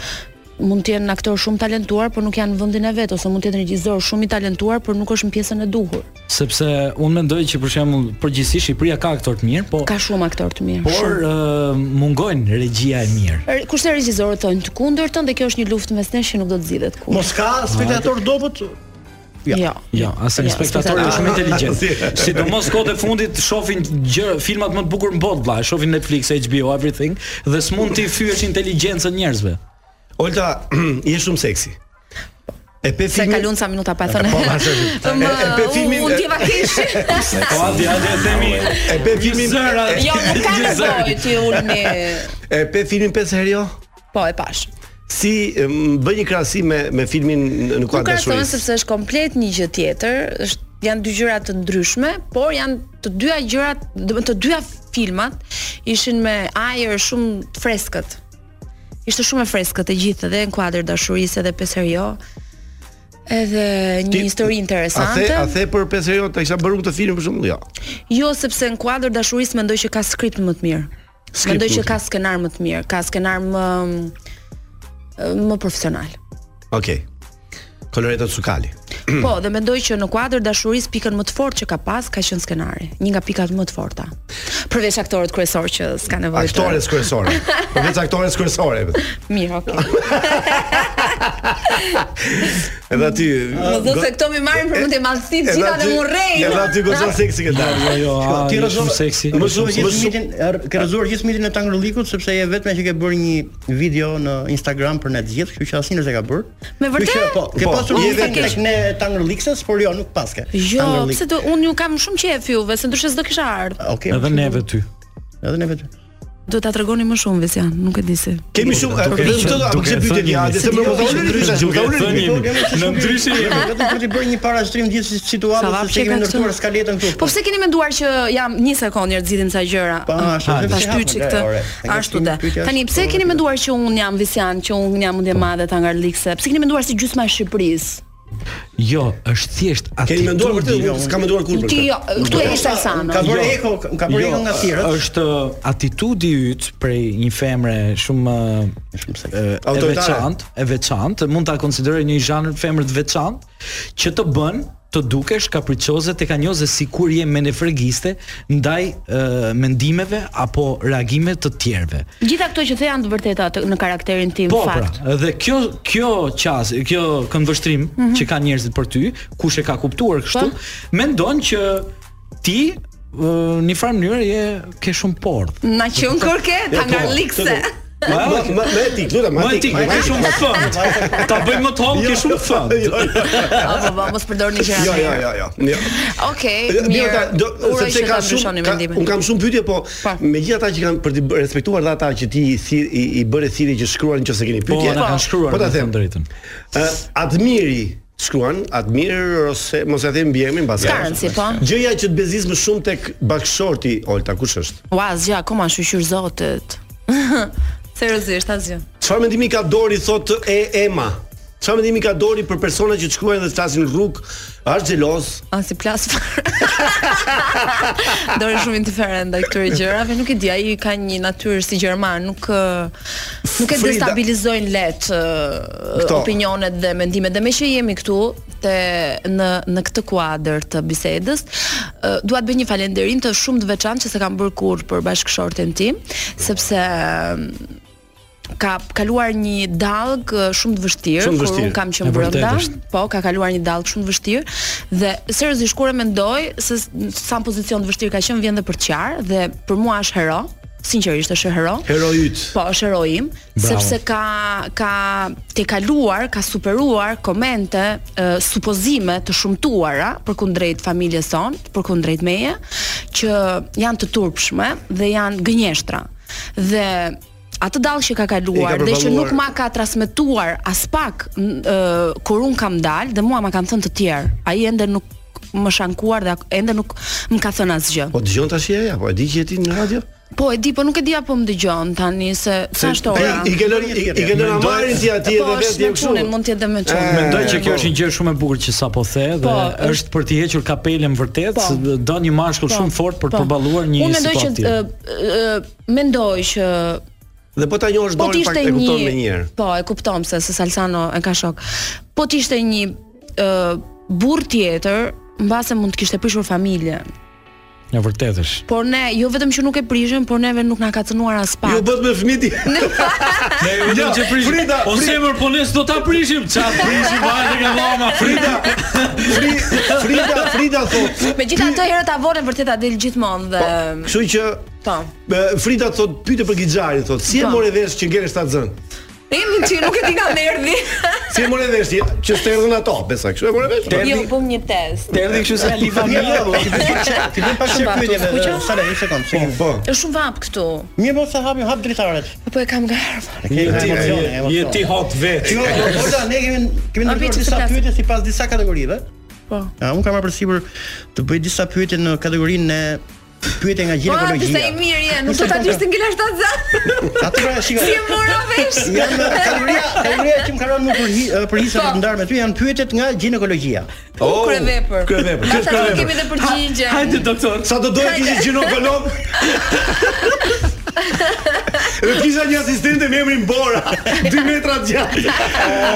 Mund të jenë aktor shumë talentuar, por nuk janë në vendin e vet ose mund të jetë regjisor shumë i talentuar, por nuk është në pjesën e duhur. Sepse unë mendoj që për shembull përgjithsisht Shqipëria ka aktor të mirë, po ka shumë aktor të mirë. Por ë, mungojnë regjia e mirë. Er, Kurse regjizorët thonë të kundërtën dhe kjo është një luftë mes nesh që nuk do të zgjidhet kur. Mos ka spektator dobët? Jo. Jo. Jo, asnjë Jo, spektator spektator. është shumë Ah, inteligjent. si. Sidomos kohët e fundit shohin gjë filmat më të bukur në botë, vlla, shohin Netflix, HBO, everything dhe s'mund ti fyesh inteligjencën njerëzve. Olta, je shumë seksi. E pe Se filmin. kalon sa minuta pa thënë. Po, vazhdo. Më, E- e pe filmin- Unë djeva kish. Po, hadi, hadi, e themi. E pe filmin. Jo, nuk ka Gjizër. nevojë ti ulni. E pe filmin pesë herë jo? Po, e pash. Si m, bëj një krahasim me me filmin në Nuk kuadër krahasohen dashurisë? sepse është komplet një gjë tjetër, është janë dy gjëra të ndryshme, por janë të dyja gjërat, do të dyja filmat ishin me ajër shumë të freskët. Ishte shumë e freskët e gjithë dhe në kuadër dashurisë edhe peserio. Edhe një histori A interesante. the, a the për pesë herë jo, ta isha bërë unë këtë film për shembull, jo. Jo, sepse në kuadër dashurisë mendoj që ka skript më të mirë. Skript mendoj më që të ka skenar më të mirë, ka skenar më më profesional. Okej. Coloretto Tsukali. Po, dhe mendoj që në kuadër dashurisë pikën më të fortë që ka pas ka qenë skenari, një nga pikat më të forta. Përveç aktorët kryesor që s'ka nevojë. të- Aktores kryesore. Përveç aktores kryesore. Mirë, okay. Edhe aty. Më thon go- se këto më marrin për mundje madhësi të Edhe gjitha dhe aty- murrej. Edhe aty gozon seksi këtë. Jo, jo, a, Ti je rrezon- shumë seksi. Më Më shumë gjithë më mitin, er, ke rrezuar gjithë mitin e Tangrullikut sepse je vetëm që ke bërë një video në Instagram për ne të gjithë, kështu që asnjë s'e ka bërë. Me vërtet? Kështu që, Po, ke Po, pasur je një vetëm. vetë tek ne Tangrullikses, por jo, nuk paske. Jo, pse do unë ju kam shumë qejf juve, se ndryshe s'do kisha ardhur. Okej. Edhe neve ty. Edhe neve ty. Do ta tregoni më shumë Vesian, nuk e di se. Kemi shumë, a, Duke vetëm këtë do- apo duke kështë pyetje thënë një, a jemi. dhe se më Jo, përthonë jo, ndryshe, jo, që më përthonë duke thënë ndryshe. jemi. Në ndryshe jemi. Vetëm për të bërë një parashtrim gjithë situatës Sa sepse kemi vapsheka ndërtuar këtu. skaletën këtu. Po pse keni menduar që jam një sekondë njerëz zgjidhim sa gjëra? Pa, ashtu, Ah, dhe ta pse shtyçi hapën, këtë. e, ore, e ke Ashtu shumë da. pyetje, Tani ashtu, pse keni menduar që un jam Visian, që un jam mundje madhe ta ngarlikse? Pse keni menduar si gjysma e Shqipërisë? Jo, është thjesht jo, aty. Keni menduar për jo. të, unë s'kam menduar kur për Ti këtë. jo, këtu e ishte Alsano. Jo, jo, tjerët. Është atitudi yt prej një femre shumë shumë e Autoritare. veçantë, e veçantë, mund ta konsideroj një zhanër femër të veçantë që të bën të dukesh kapriçoze tek anjoze sikur je menefregiste ndaj e, mendimeve apo reagimeve të tjerëve. Gjitha këto që the janë të vërteta të- në karakterin tim Po pra, fakt. edhe kjo kjo qas, kjo këndvështrim Mhm. Po. që kanë njerëzit për ty, kush e ka kuptuar kështu, mendon që ti ë, në një farë mënyrë je ke shumë port. Na që un kur ke po, ta ngarlikse. Ma ma ma etik, lutem, ma Ma etik, ma Po, Jo. ke shumë fënd. Ta bëjmë më të homë, ke shumë fënd. Apo po, mos përdorni gjëra. Jo, jo, jo, jo. jo. Okej, Mirë, mirë. ta- do, Uroj sepse që ka ta shumë ndryshoni ka, mendimin. un kam shumë pyetje, po megjithatë që kanë për të bë- respektuar dhe ata që ti i thirr- i, i bëre thirrje që shkruan nëse keni pyetje. Po, na kanë shkruar, Po ta me them drejtën. Ë, Admiri shkruan Admir ose mos e them mbi emrin mbas. Skarnci, po. Gjëja që të bezis më shumë tek Bakshorti, Olta, kush është? Ua, asgjë, akoma shqyqyr zotët. Seriozisht, asgjë. Çfarë mendimi ka Dori thotë e Ema? Çfarë mendimi ka Dori për persona që të shkruajnë dhe të flasin rrugë? A është xhelos? A Ah, si plas fare. Dori shumë indiferent ndaj këtyre gjërave, nuk e di, ai ka një natyrë si gjerman, nuk ë, nuk e Frida. destabilizojnë lehtë ë, Kto. opinionet dhe mendimet. Dhe me që jemi këtu te në në këtë kuadër të bisedës, ë, dua të bëj një falënderim të shumë të veçantë që se kam bërë kurrë për bashkëshortin tim, sepse ë, ka kaluar një dallg ë, shumë të vështirë Shumë të kur vështirë. unë kam qenë E vërtetë brenda. është. Po, ka kaluar një dallg shumë të vështirë dhe seriozisht kur e mendoj se s- sa në pozicion të vështirë ka qenë vjen dhe për qarë dhe për mua është hero, sinqerisht është hero. Hero yt. Po, është hero im, Bravo. sepse ka ka te kaluar, ka superuar komente, e, supozime të shumtuara përkundrejt familjes sonë, përkundrejt meje, që janë të turpshme dhe janë gënjeshtra. Dhe atë dallë që ka kaluar I ka dhe që përballuar. nuk ma ma ka transmetuar as pak n- ë, kur un kam dal dhe mua ma kanë thënë të tjerë. Ai ende nuk më shankuar dhe ak- ende nuk më ka thënë asgjë. Po dëgjon tash ja, po e di që je ti në radio? Po e di, po nuk e di apo më dëgjon tani se sa është ora. I ke lënë i i ke lënë Mendoj- amarin ti atje po, dhe është vetë je me punën, kështu. mund të jetë dhe me çunën. Mendoj që kjo po. është një gjë shumë e bukur që sapo the dhe Po, është, është- për të hequr kapelen vërtet, se do një mashkull Po, shumë fort për po. të përballuar një Unë mendoj që situatë. ë, ë, mendoj që Dhe po ta njohësh po Dori t'ishte pak e kupton një me një herë. Po, e kuptom se se Salsano e ka shok. Po t'ishte një ë burr tjetër, mbase mund të kishte prishur familjen. Në vërtetë është. Por ne, jo vetëm që nuk e prishëm, por neve nuk na ka cënuar as pak. Ju bët me fëmijë ti. Ne e vetëm që prishim. Frida, o Frida. zemër po ne s'do ta prishim. Ça prishim vajte nga mama Frida. Frida, Frida thot. Megjithatë herët avonën vërtet a del gjithmonë dhe Kështu që po. e, Frida thot pyete për Gixharin thot, si e Po. morë vesh që ngjeresh ta zën? Emi ti nuk e di nga erdhi. Si e morë vesh ti që sterdhën ato, besa, kështu e morë vesh. Jo, bëm një test. T'erdhi kështu se Ali familja, po. Ti bën pak- ti bën pak Shumë shpytje vap, me skuqo? Sara, një sekond, sekond. Po. Është shumë vap këtu. Mirë, po sa hapim hap dritaret. Po e kam garë. Ke emocione, emocione. Je ti hot vet. Ti, Ola, ne kemi kemi A, ndërtuar bitë, disa të flasim. pyetje sipas disa kategorive. Po. Ja, unë kam marrë përsipër të bëj disa pyetje në kategorinë e pyetje nga Ah, disa i gjinekologjia. mirë je, nuk do ta dish të ngelash ta zë. Atë pra shikoj. Si e mora vesh? Jam kaloria, kaloria që më kanë rënë mua për hi, eh, për hisa Po. për të ndarë me ty janë pyetjet nga gjinekologjia. Oh, Krevepër. Krevepër. Ata Kështë nuk krevepër. kemi dhe përgjigje. Ha- Hajde doktor. Sa do doja kishe gjinokolog? Dhe kisha një asistente me emrin Bora, 2 metra gjatë.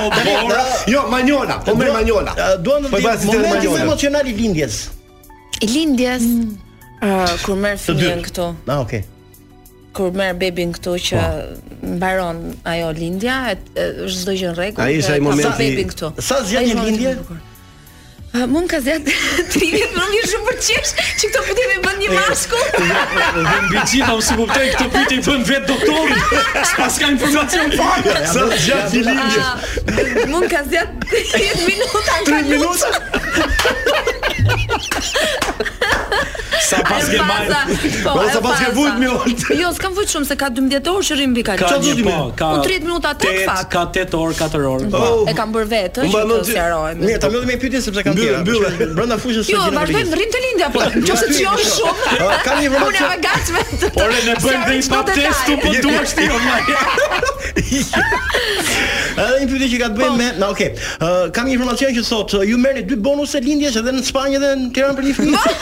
O, Bora. Jo, Manjola, po merr Manjola. Duan të Po i bëj di asistente momenti më Manjola. emocional i lindjes. I lindjes. Ë Mm. Ah, kur merr Të dytë. fëmijën këtu. Ah, okay. kur merr bebin këtu që mbaron ajo lindja, e- e- është çdo gjë në rregull. Ai ishte e ai ka momenti- bebin këtu. Sa zgjat Ai një ishte momenti lindje? i bukur. A, Mu më ka zjat 30, më vjen shumë për qesh që këto pyetje më bën një mashkull. Dhe mbi gjitha unë si kuptoj këtë pyetje i bën vet doktorin. S'pas ka informacion fare. Sa zgjat një lindje? A, Mu më Ah, ka zjat 30 minuta. 30 minuta. Sa pas ke marrë. Po, Po, ajo sa pas ke faza. vujt me oltë. Jo, s'kam vujt shumë se ka 12 orë që rrim mbi kalë. Ka një po, ka Unë 30 minuta tek tet- fak. Ka 8 orë, 4 orë. E kam bërë vetë, që të sqarohemi. Mirë, ta mbyllim me pyetje sepse kanë tjera. Mbyllë, Brenda fushës së Jo, gjinekologjisë. vazhdojmë rrim të lindja po. Nëse të jon shumë. Ë, kam një informacion. Unë jam e gatshme. Ore ne bëjmë dhe i pap testu, po duash ti online. Edhe një pyetje që ka të Po. bëjë me, na okay. Ë, kam një informacion që thotë ë, ju merrni dy bonuse lindjesh edhe në Spanjë edhe në Tiranë për një fëmijë.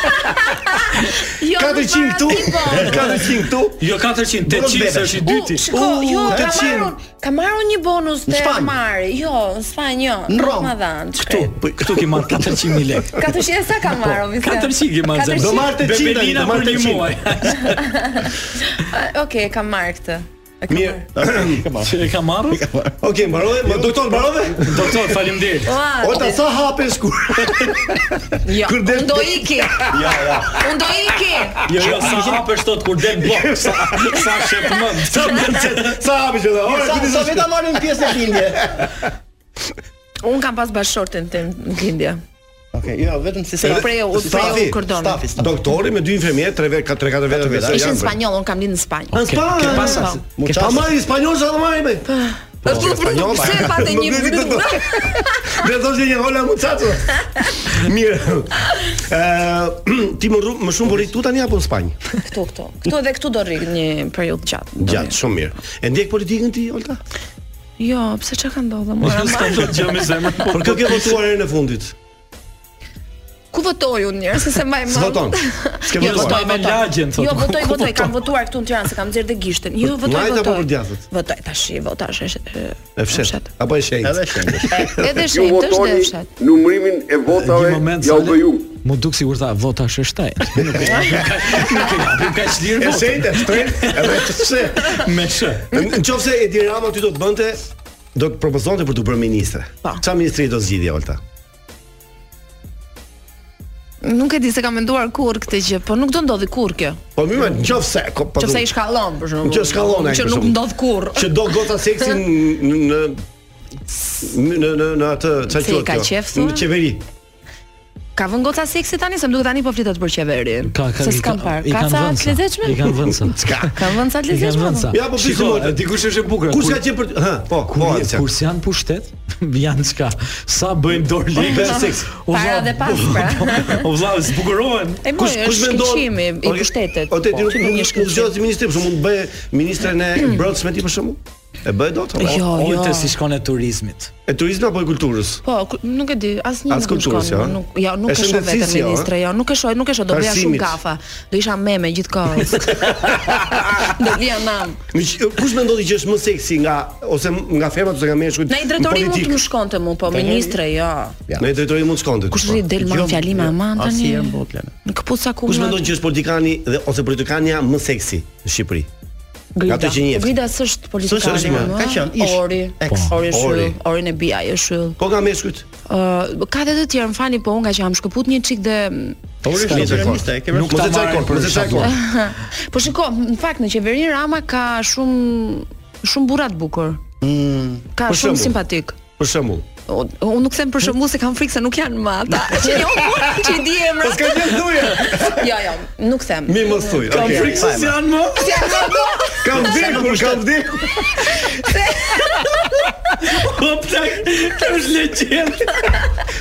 Jo, 400 këtu, 400 këtu. Jo 400, 800 se është i dyti. Shiko, jo, ka marrun, ka marrun një bonus Në te Spanjë. Mari. Jo, në Spanjë, jo. Në Rom. Ma dhan. Këtu, po, këtu ke marrë 400.000 lekë. 400 e sa ka marrë, Po, Vincent? 400 ke marrë. 400. Do marrë 800, Bebelina do marrë për një 800. muaj. A, Okej, kam marrë këtë. Mirë. Që e ka marrë? Okej, mbarove. Ma- Doktor, mbarove? Doktor, faleminderit. Ua, Ota e- sa hapesh kur. Jo, Kur del- unë do iki. Ja, ja. Unë do iki. Jo, jo, sa hapesh tot kur del blok, sa sa shepmend. Sa bëhet? Sa hapesh edhe? Ora, Sa ku ti sa vetë marrin pjesë në lindje. Unë kam pas bashortin tim në lindje. Okej, jo, vetëm si Se i preu, u preu kordon. Doktori me dy infermier, 3 vetë, 4 4 vetë. Ishin spanjoll, unë kam lindë në Spanjë. Në Spanjë. Po, Ke Po. pasur. Ama i spanjoll sa do marrim. Po. Po, spanjolla. Pse patë një burë? Dhe thoshte një hola mucaco. Mirë. Ë, ti më rru- më shumë bëri tu tani apo në Spanjë? Këtu, këtu. Këtu edhe këtu do rri një periudhë gjatë. Gjatë, shumë mirë. E ndjek politikën ti, Olta? Jo, pse çka ka ndodhur mora? ma? Por kë ke votuar herën e fundit? Ku votoj unë njerëz se se mbaj mend. S'voton. S'ke Jo, votuar. votoj, Me votoj. lagjen, thotë. Jo, votoj, Ku votoj, kam voton? votuar këtu në Tiranë se kam nxjerr dhe gishtin. Jo, votoj, Majt apo për votoj. djathët? Votoj tash, votash. është- E fshet. Apo e shenjtë? Edhe e- Ju Edhe shenjtë, është dhe votoni fshat. numërimin e votave ja u bëju. Mu duk sigur tha vota është shtaj. Nuk e Nuk e kapim kaq lirë. E shenjtë, shtrenjtë, edhe pse me sh. Në qoftë se Edi Rama ty do të bënte do të propozonte për të bërë ministre. Çfarë ministri do zgjidhje Olta? Nuk e di se kam menduar kurrë këtë gjë, po nuk do ndodhi kurrë kjo. Po mirë, në qoftë se ko- po Qofse do- i shkallon për shembull. Që shkallon ai, Që për nuk shembull. ndodh kurrë. që do gota seksi në në në në në atë çfarë Se i ka qef, thua? Në qeveri. Ka vënë goca seksi tani se më duket tani po flitet për qeverin. Ka- ka- se i s'kam ka- parë. i Ka kanë ca vënë të ca. lezetshme? I kanë vënë ca. S'ka. Kanë vënë ca të lezetshme. apo? Ja po Shiko, pysim. dikush është e bukur. Kush ka qenë për hë, po, kur, po, je- Alisa. kur si janë pushtet, janë çka. Sa bëjnë dorë lekë Po, seks. O Para vlla, dhe pas pra. O vlla, zbukurohen. E moj, është shkëlqimi i pushtetit. O te ti Po, nuk kjo nuk një nuk zgjohet si ministri, për shembull, mund të bëj ministren e mbrojtësme ti për shembull? E bëj dot? apo? Po, Jo, jo. Ojte si shkon e turizmit. E turizmi apo e kulturës? Po, ku- nuk e di, asnjë As nuk më kulturës, shkon. jo? Nuk, jo, E nuk e shoh vetëm shëndetësisë, jo, ministre, jo, nuk e shoh, nuk e shoh, do bëja shumë Arsimit. gafa. Do isha meme gjithkohë. do vija nam. Mi q- Kush mendoni që është më seksi nga ose nga femrat ose nga meshkujt? Në i drejtori mund të më shkonte mu, po Ka njeri? ministre, jo. Në i drejtori mund të shkonte. Jo, Kush rri del ma fjalime aman tani? Në këpuca ku. Kush më- mendon që është politikani dhe ose politikania më seksi në Shqipëri? Nga ato që njeh. Grida s'është politikani. S'është, është, ama, ka qenë, ish. Ori, Ex. ori është Ori. ori. Orin e bija është yll. Po nga meshkujt. Ë, ka edhe të tjerë, më fani, po unë nga që jam shkëput një çik dhe mm, Ori Po, S'ka është qenë. ministre, e ke vërtet. Nuk ta Mos e çaj marrin kor, për mos e çaj kor. po shiko, në fakt në qeverinë Rama ka shumë shumë burra të bukur. Ka Mm, Për shumë shembull. simpatik. Për shembull. O- Unë nuk them për shembull se kam frikë se nuk janë më ata. Që jo burra që i di emra. Po s'ka gjë thuje. Jo, jo, nuk them. Mi mos thuj. Kam okay, frikë se fajma. s'janë më. Kam vdekur, kam vdekur. Po plak, kjo është legjend.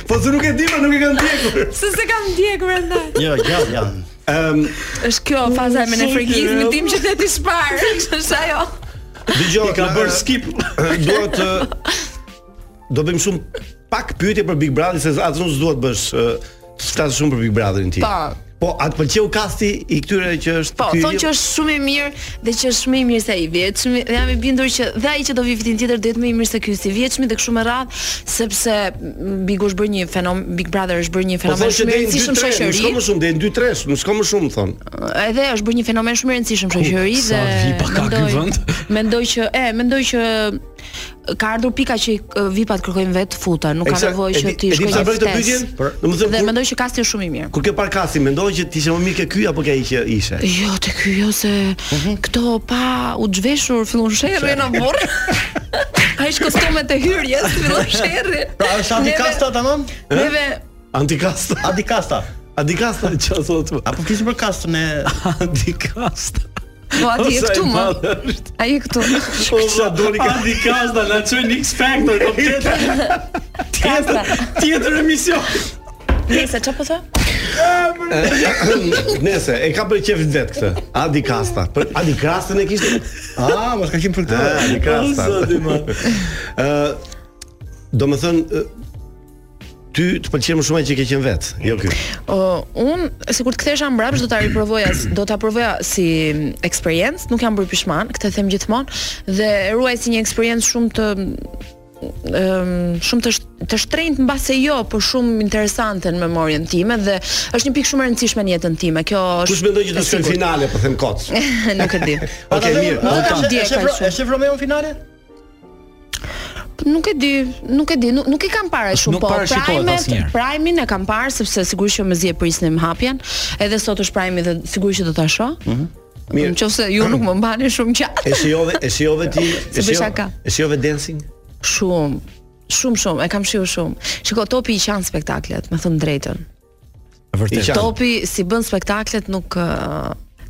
Po se nuk e di, pra nuk e kam vdekur. Se se kam ndjek brenda. Jo, gjallë janë. Ëm, Është kjo faza e menefregizmit tim që theti shpar. Është ajo. dëgjoj, eh, I ka bërë skip. Dua të eh, do bëjmë shumë pak pyetje për Big Brother se atë nuk s'dua të bësh ë, të flasësh shumë për Big Brotherin ti. Po. Po, atë pëlqeu kasti i këtyre që është Po, ky- thonë që është shumë i mirë dhe që është më i mirë se ai i vjetshmi. Dhe jam i bindur që dhe ai që do vi vitin tjetër do jetë më i mirë se ky si i vjetshmi dhe kështu me radhë, sepse mm, Big është bërë një fenomen Big Brother është bërë një Po fenomen thonë që shumë deri i në 2-3, rëndësishëm nuk shko më shoqëri. shumë deri në 2-3, nuk shko më shumë thon. Edhe është bërë një fenomen shumë i rëndësishëm shoqëri sa dhe vipa ka ky vend? mendoj që e mendoj që ka ardhur pika që i- vipat kërkojnë vetë futa, nuk ka Eksa- nevojë e që di- e ti di shkojë pse bëri këtë në pyetjen? test. Por, domethënë, Dhe kur- mendoj që kasti është shumë i mirë. Kur ke parë kasti, mendon që ti ishe më mirë ke ky apo ke ai që ishe? Jo, te ky jo se këto pa u zhveshur fillon sherri në burr. Ai është kostumet e hyrjes, fillon sherri. Pra është antikasta tamam? Neve Antikasta. Antikasta. Antikasta çfarë thotë? Apo flisim për kastën e Antikasta. Po ati e këtu më Ai e këtu Kisha doli ka di kasta na çoj në X Factor po- komplet. Tjetër, tjetër emision. Nëse çfarë po thë? Nëse e ka për qef vet këtë. Adi Kasta. Për Adi Kastën e kishte. Ah, mos ka qenë për këtë. Adi Kasta. O, zoti, ma. Ë, do të thënë ty të pëlqen më shumë ai që ke qenë vet, jo ky. Uh, un sikur të kthesha mbrapsht do ta riprovoja, s- do ta provoja si eksperiencë, nuk jam bërë pishman, këtë them gjithmonë dhe e ruaj si një eksperiencë shumë të um, shumë të, sh- të shtrenjtë mbase jo, por shumë interesante në memorien time dhe është një pikë shumë e rëndësishme në jetën time. Kjo është Kush mendon që do e të shkojë në sigurt. Po, finale, po them kot. nuk e di. Okej, mirë. Olta. Është Romeo në finale? Nuk e di, nuk e di, nuk, nuk i kam parë shumë, Nuk po parashikohet asnjëherë. Prime-in e kam parë sepse sigurisht që më zi e prisnim hapjen, edhe sot është Prime dhe sigurisht që do ta shoh. Mhm. Mirë. Mirë. Nëse ju nuk më mbani shumë gjatë. E shijove, e shijove ti, Se e bëj shijove. shaka. E shijove dancing? Shumë, shumë shumë, e kam shiu shumë. Shiko, topi i qan spektaklet, me thënë drejtën. Vërtet. Topi si bën spektaklet nuk ë,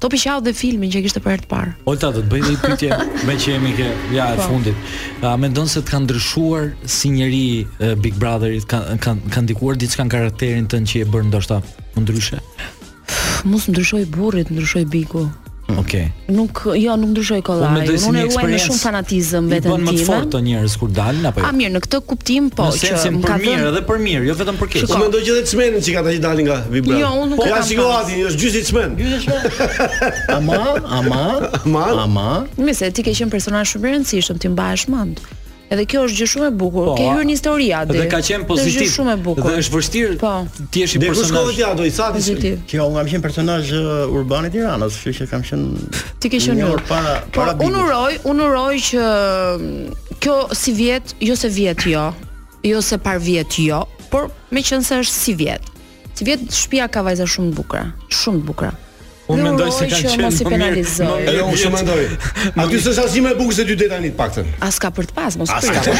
Topi qau dhe filmin që kishte për herë të parë. Olta do të bëj një pyetje me që jemi ke ja e Po. fundit. A mendon se të ka ndryshuar si njeri e, Big Brotherit ka ka ka ndikuar diçka në karakterin tënd që e bën ndoshta ndryshe? Pff, Mos ndryshoj burrit, ndryshoj biku. Hmm. Okej. Nuk, jo, nuk ndryshoj Unë kollaj. mendoj Unë, Po si një e ruaj me eksperiencë shumë fanatizëm I veten bën më të time. fortë njerëz kur dalin apo A jo? mirë, në këtë kuptim po në që sensin më për ka mirë dhënë edhe për mirë, jo vetëm për keq. Unë mendoj që edhe çmenin që ka ta që dalin nga Big Brother. Jo, unë nuk po, e ja kam shiko pas. Adin, është gjysi çmen. Gjysi çmen. ama, ama, ama, ama. Mirë se ti ke qenë personazh shumë i rëndësishëm, ti mbahesh mend. Edhe kjo është gjë shumë e bukur. Po, ke hyrë në histori atë. Dhe ka qenë pozitiv. Është gjë shumë e bukur. Po. Dhe është vështirë ti jesh i Dhe ku shkove personazh. ti ato i sati? Pozitiv. Kjo unë kam qenë personazh ë, urban i Tiranës, kështu që kam qenë Ti ke qenë një unë. orë para Por para unë uroj, unë uroj që mm, kjo si vjet, jo se vjet jo, jo se par vjet jo, por me qenë se është si vjet. Si vjet shtëpia ka vajza shumë të bukura, shumë të bukura. Unë Dhe mendoj uroj se kanë që qenë mos i më mirë- penalizoj. më mirë Edhe jo, unë shumë vjet. mendoj. Aty s'është asnjë më e bukur se dy deta tani të paktën. As ka për të pas, mos As pyet. ka për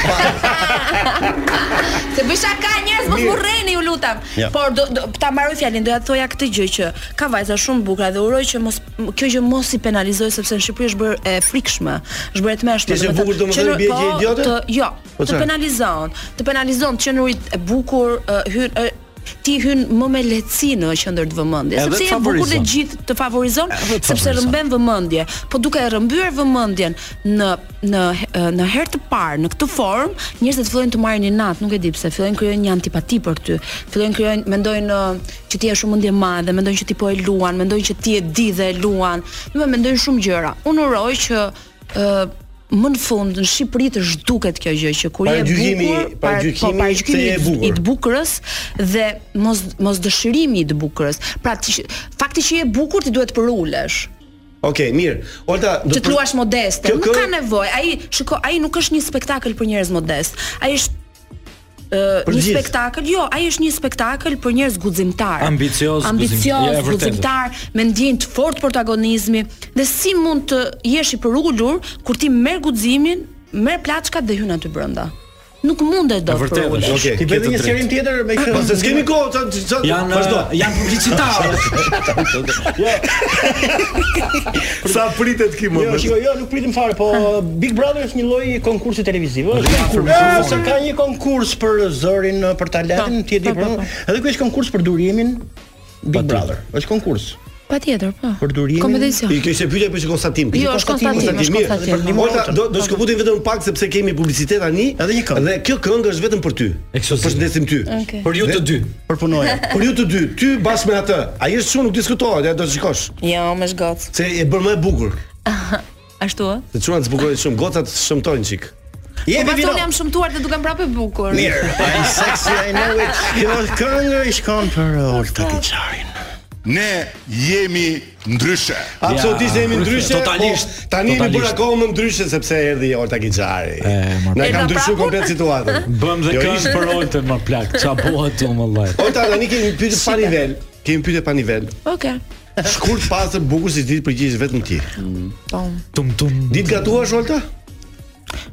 Se bëj shaka njerëz mos Mirë. urreni, ju lutam. Ja. Por do, do ta mbaroj fjalën, doja të thoja këtë gjë që ka vajza shumë bukura dhe uroj që mos kjo gjë mos i penalizoj sepse në Shqipëri është bërë e frikshme, është bërë e tmeshme. Ti je domethënë, bukur, domethënë, qenër- bie gjë po, idiote? Të, jo, Po të çfarë? penalizon, të penalizon të qenurit e bukur, e, hyn e, ti hyn më me lehtësi në qendër të vëmendjes, Edhe sepse të je bukur dhe favorizon. gjithë të favorizon, Eh, të sepse favorizon. rëmben vëmendje. Po duke e rëmbyer vëmendjen në në eh, në herë të parë në këtë formë, njerëzit fillojnë të marrin inat, nuk e di pse, fillojnë krijojnë një antipati për ty. Fillojnë krijojnë, mendojnë ë, që ti je shumë ndjema dhe mendojnë që ti po e luan, mendojnë që ti e di dhe e luan. Do të mendojnë shumë gjëra. Unë uroj që ë më në fund në Shqipëri të zhduket kjo gjë që kur je Paragjykimi- bukur, para- paragjykimi po, paragjykimi se je i- bukur. i të bukurës dhe mos mos dëshirimi i të bukurës. Pra ti, fakti që je bukur ti duhet të përulesh. Okej, mirë. Olta, do Që të luash modeste, Kjo nuk kë- ka nevojë. Ai, shiko, ai nuk është një spektakël për njerëz modest. Ai është ë, Për një gjithë. spektakël, jo, ai është një spektakël për njerëz guximtar. Ambicioz, ambicioz, guxim- ja, e vërtetë. guximtar, me ndjenjë të fortë protagonizmi dhe si mund të jesh i përulur kur ti merr guximin, merr plaçkat dhe hyn aty brenda. Nuk mundet do të përulesh. Okej. Ti bëni një serim tjetër uh, me Po se s'kemi kohë, ça ça Janë janë publicitarë. Sa pritet ki më. Jo, shiko, jo, nuk pritim fare, po Big Brother është një lloj konkursi televiziv. Është Ja, konkurs. për Ose ka një konkurs për zërin, për Po, talentin, ti e di për. Edhe ky është konkurs për durimin Big Brother. Është konkurs. Patjetër, po. Për durimin. Kompeticion. I kjo ishte pyetja për konstatim. Jo, është konstatim, është mirë. konstatim. Për dimorta, do do shkëputim vetëm pak sepse kemi publicitet tani. Edhe një këngë. Dhe kjo këngë është vetëm për ty. Përshëndesim ty. Okej. Për ju të dy. Për punoja. Për ju të dy, ty bashkë me atë. Ai është shumë nuk diskutohet, ja do të shikosh. Jo, më zgjat. Se e bën më e bukur. Ashtu ë? Se çuan zbukurojnë shumë, gocat shëmtojnë çik. Po Jepi pastaj vino. unë jam shëmtuar dhe dukem prapë e bukur. Mirë. Ai sexy, I know it. Kjo këngë i shkon për uh, Po. Olta Kiçarin. Ne jemi ndryshe. Absolutisht jemi ndryshe. Totalisht. po Tani jemi bërë akoma më ndryshe sepse erdhi Olta Gixhari. Na Erdha ka ndryshuar prapur? komplet situatën. Bëm dhe Jo, këngë ishte- për Oltën më plak. Ça bëhet ju më vllaj. Olta tani kemi pyetje pa nivel. Kemi pyetje pa nivel. Okej. Shkurt pastër bukur si ti përgjigjesh vetëm ti. Po. Tum tum. Ditë gatuash Olta?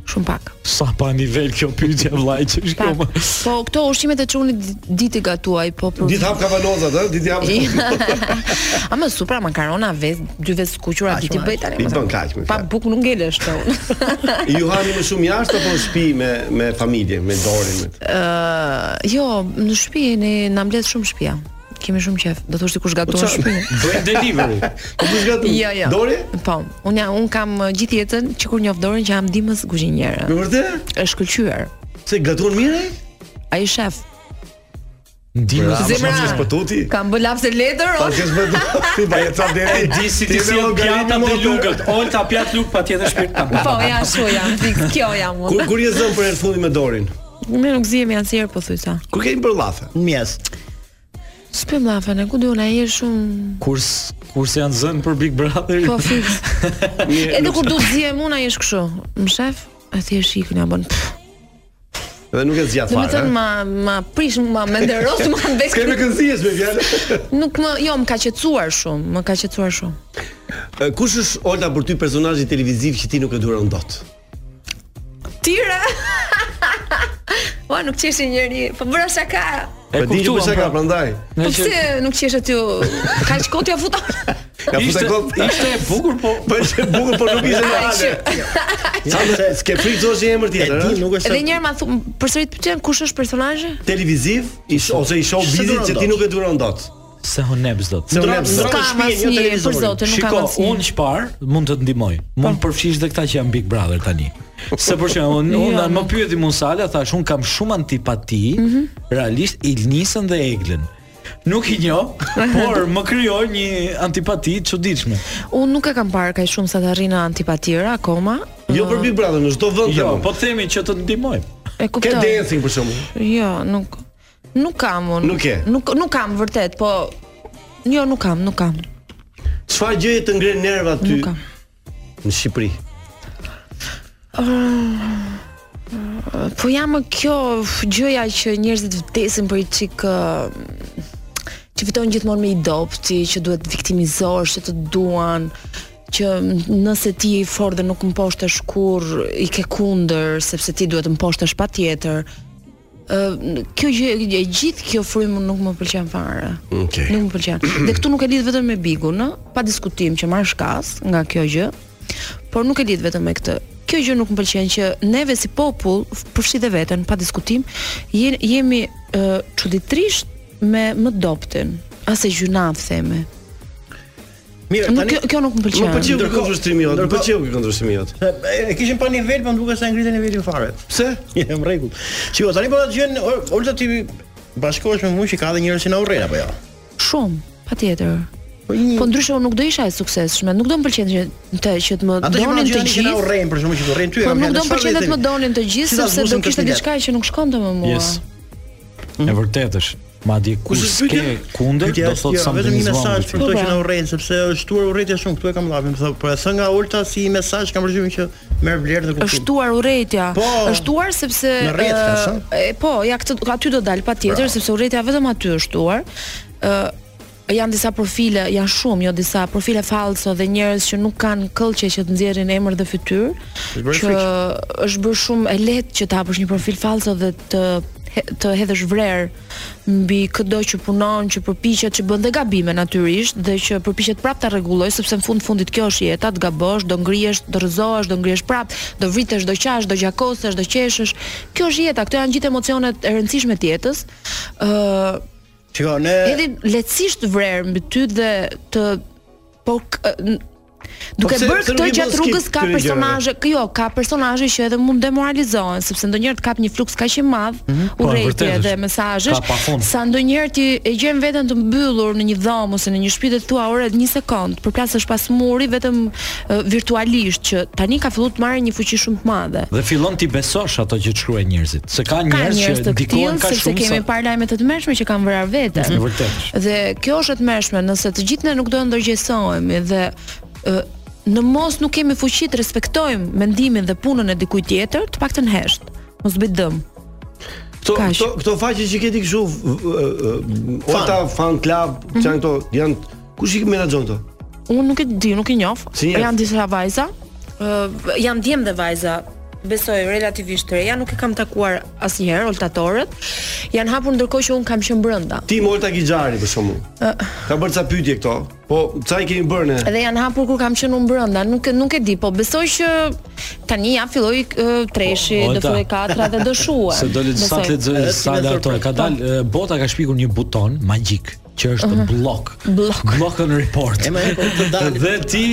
Shumë pak. Sa pa nivel kjo pyetje vllaj që Pa, shkoma. po këto ushqimet e çuni ditë i gatuaj, po për Ditë hap kavalozat, ë? Ditë hap. Ama supra makarona vet, dy vet skuqura ti ti bëj tani. I më bën thënë. kaq më. Pa buk nuk ngelesh këtu. Ju hani më shumë jashtë apo në shtëpi me me familje, me dorën? me- Ë, jo, në shtëpi ne na mbledh shumë shtëpia. Kemi shumë qef. Do thoshti kush gatuan në shtëpi? Bëjmë delivery. Po kush gatuan? Jo, jo. Dori? Po, unë ja, un kam uh, gjithë jetën që kur njoh dorën që jam dimës kuzhinjere. Me vërtet? Është shkëlqyer. Se gatuan mirë? Ai shef. Ndimë Bravo, Zemra. mos Po, kesh potuti. Kam bë lapse letër. Po kesh bërë ti pa jetë sa deri. E di si ti si jo pjata dhe lugët. Olta pjat lug patjetër shpirt kam. Po, ja, shu jam, fix, kjo jam unë. Kur kur je zëm për herë të fundit me Dorin? Ne nuk zihemi asnjëherë po thuj sa. Kur kemi bërë llafe? Në mjes. S'pëm lafën, e ku do na jesh shumë Kurs kurse janë zënë për Big Brother. Po fix. Mirë, Edhe nuk- kur duhet zihem unë ai është kështu. Më shef, a thjesht ikën apo. Dhe nuk e zgjat Do të fare. thënë ma ma prish ma më nderos ma ndesh. S'kemi kënzies me fjalë. Nuk më jo, më ka qetësuar shumë, më ka qetësuar shumë. E, Kush është Olta për ty personazhi televiziv që ti nuk e duron dot? Tire. Ua, nuk qeshi njëri, po bëra shaka. E di që kuptuam, pse ka pra. prandaj. Po pse nuk qesh aty? Kaq kot ja futa. Ja futa Ishte- gol. ishte e bukur, po po ishte e bukur, po nuk ishte reale. Sa se s'ke frikë zosh një emër tjetër. E di, nuk Edhe njëherë ma thu, përsërit pyetën kush është personazhi? televiziv ish, ose i show Se bizit duron që ti dot. nuk e duron dot. Se honebs do. Se honebs dot. Ka jo asnjë, për zotin, nuk ka Po. Shiko, asnjë. unë çpar mund të të ndihmoj. Mund përfshish edhe këta që janë Big Brother tani. Se për shembull, unë Jo, unë më pyeti Musala, thash unë kam shumë antipati, Mhm. realisht Ilnisën dhe Eglën. Nuk i njoh, por më krijoi një antipati të çuditshme. Unë nuk e kam parë kaq shumë sa të arrin në antipatira akoma. Jo për Big Brother, në çdo vend. Jo, Jo, po themi që të ndihmoj. E Ke kuptoj. dancing për shembull. Jo, nuk nuk kam unë. Nuk ke? Nuk nuk kam vërtet, po jo nuk kam, nuk kam. Çfarë gjëje të ngren nerva ty? Nuk kam. Në Shqipëri. Ëh, Po jam më kjo f- gjëja që njerëzit vdesin për i çik ëh, që fitojnë gjithmonë me i dopti, që duhet viktimizosh, që të duan, që nëse ti je i fortë dhe nuk mposhtesh kur i ke kundër, sepse ti duhet të mposhtesh patjetër. Ë kjo gjë e gjithë kjo frymë nuk më pëlqen fare. Okej. Nuk më pëlqen. dhe këtu nuk e lidh vetëm me Bigun, ë, pa diskutim që marr shkas nga kjo gjë, por nuk e lidh vetëm me këtë. Kjo gjë nuk më pëlqen që neve si popull, f- përfshi dhe veten, pa diskutim, je- jemi ë, çuditërisht me më doptin, ase gjynaf theme. Mirë, Nuk, kjo, kjo nuk më pëlqen. Më pëlqeu ky kundërshtrimi jot. Më pëlqeu ky kundërshtrimi jot. E, e kishim pa nivel, po më duket se ngritën nivelin fare. Pse? Jam rregull. Shiko, tani po ta dëgjojnë, o- Olta ti bashkohesh me mua që ka edhe njerëz që na urrejnë apo jo? Shumë, patjetër. Po ndryshe unë nuk do isha e suksesshme, nuk do më pëlqen që të që të më Ato që më donin të dëgjojnë që na gjithë. urrejnë për shkakun që të urrejnë ty. Po kam nuk fjalë, do më çfarë pëlqen të vetemi? më donin të gjithë Si ta sepse do zbusim kishte këtë diçka që nuk shkonte me mua. Yes. E vërtetë është. Madje kur Mhm. Kush është s'ke pyetja? kundër, Pyetja do është, thotë jo, sa më vetëm një mesazh për Po, këto që pra. na urrejnë sepse është shtuar urrëtia shumë, këtu e kam llapin, po po e thë nga Olta si mesazh kam përgjithësimin që merr vlerë dhe kuptim. Është shtuar urrëtia. Po. Është shtuar sepse Në rrjet, ë, thashë. Pra. e, po, ja këtë aty do dal patjetër sepse urrëtia vetëm aty është shtuar. ë janë disa profile, janë shumë, jo disa profile falso dhe njerëz që nuk kanë këllqe që të nxjerrin emër dhe fytyrë, Është bërë që është bërë shumë e lehtë që të hapësh një profil falso dhe të he- të hedhësh vrerë mbi çdo që punon, që përpiqet, që bën dhe gabime natyrisht dhe që përpiqet prapë ta rregulloj sepse në fund fundit kjo është jeta, të gabosh, do ngrihesh, do rrëzohesh, do ngrihesh prapë, do vritesh, do qash, do gjakosesh, do qeshesh. Kjo është jeta, këto janë gjithë emocionet e rëndësishme të jetës. ë Shiko, ne Edhe lehtësisht vrer mbi ty dhe të po k- n- Duke Po pse- bërë pse nuk këtë i bën gjatë skip rrugës ka këtyre gjërave? personazhe, k- jo, ka personazhe që edhe mund demoralizohen, sepse ndonjëherë të kap një fluks kaq i madh Mhm, po, urrëti vërtet dhe është. mesazhesh, Ka pafund. sa ndonjëherë ti e gjen veten të mbyllur në një dhomë ose në një shtëpi dhe thua ore një sekond, përplasesh pas muri vetëm e, virtualisht që tani ka filluar të marrë një fuqi shumë të madhe. Dhe fillon ti besosh ato që të shkruajnë njerëzit. Se ka Ka njerëz njerëz që të ndikojnë tillë ka sepse shumë. kemi sa- parë lajme të tmerrshme që kanë vrarë veten. Është vërtet. Dhe kjo është e tmerrshme, nëse të gjithë ne nuk do ndërgjegjsohemi dhe ë, në mos nuk kemi fuqi të respektojmë mendimin dhe punën e dikujt tjetër, të paktën hesht. Mos bëj dëm. Kto Kaq. kto këto faqe që ke ti kështu Ota fan club, Mhm. që janë këto, janë kush i menaxhon këto? Unë nuk e di, nuk e njoh. Si njerëz? janë disa vajza, ë, janë djem dhe vajza besoj relativisht të reja, nuk e kam takuar asnjëherë oltatorët. Janë hapur ndërkohë që un kam qenë brenda. Ti Molta Gixhari për shembull. Ë, Ka bërë ca pyetje këto, po ca i kemi bërë ne. Edhe janë hapur kur kam qenë unë brenda, nuk nuk e di, po besoj që tani ja filloi ë, treshi, Po, do ojta. filloi katra dhe do shuhen. Se do le sa të lexoj sa le ato ka Po. dal e, bota ka shpikur një buton magjik që është Mhm. block. Block. Block on report. E, ma, po, të dalin. Dhe ti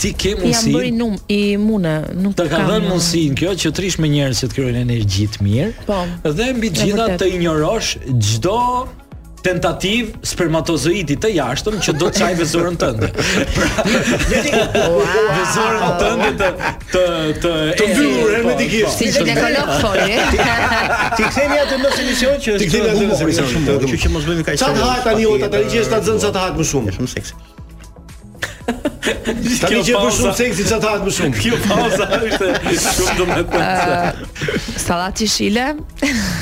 ti ke Jam mundësi bërë num i mune, nuk të ka kam- dhënë mundësinë kjo që të rish me njerëz që të krijojnë energji të mirë. Po. Dhe mbi E gjitha vërtet. të injorosh çdo tentativ spermatozoidi të jashtëm që do të çaj vezorën tënde. Vezorën tënde të të të Po, Të mbyllur hermetikisht. Si ginekolog foli. Ti kthemi atë në emision që Ti është kthemi atë në humori, emision, shumë, të humor. Kështu që mos bëhemi kaq. Sa të hahet tani Ota, tani që është ta zënë sa të hahet më shumë. Shumë seksi. Tani që është shumë seksi sa të hahet më shumë. Kjo pauza është shumë domethënëse. Sallati shile,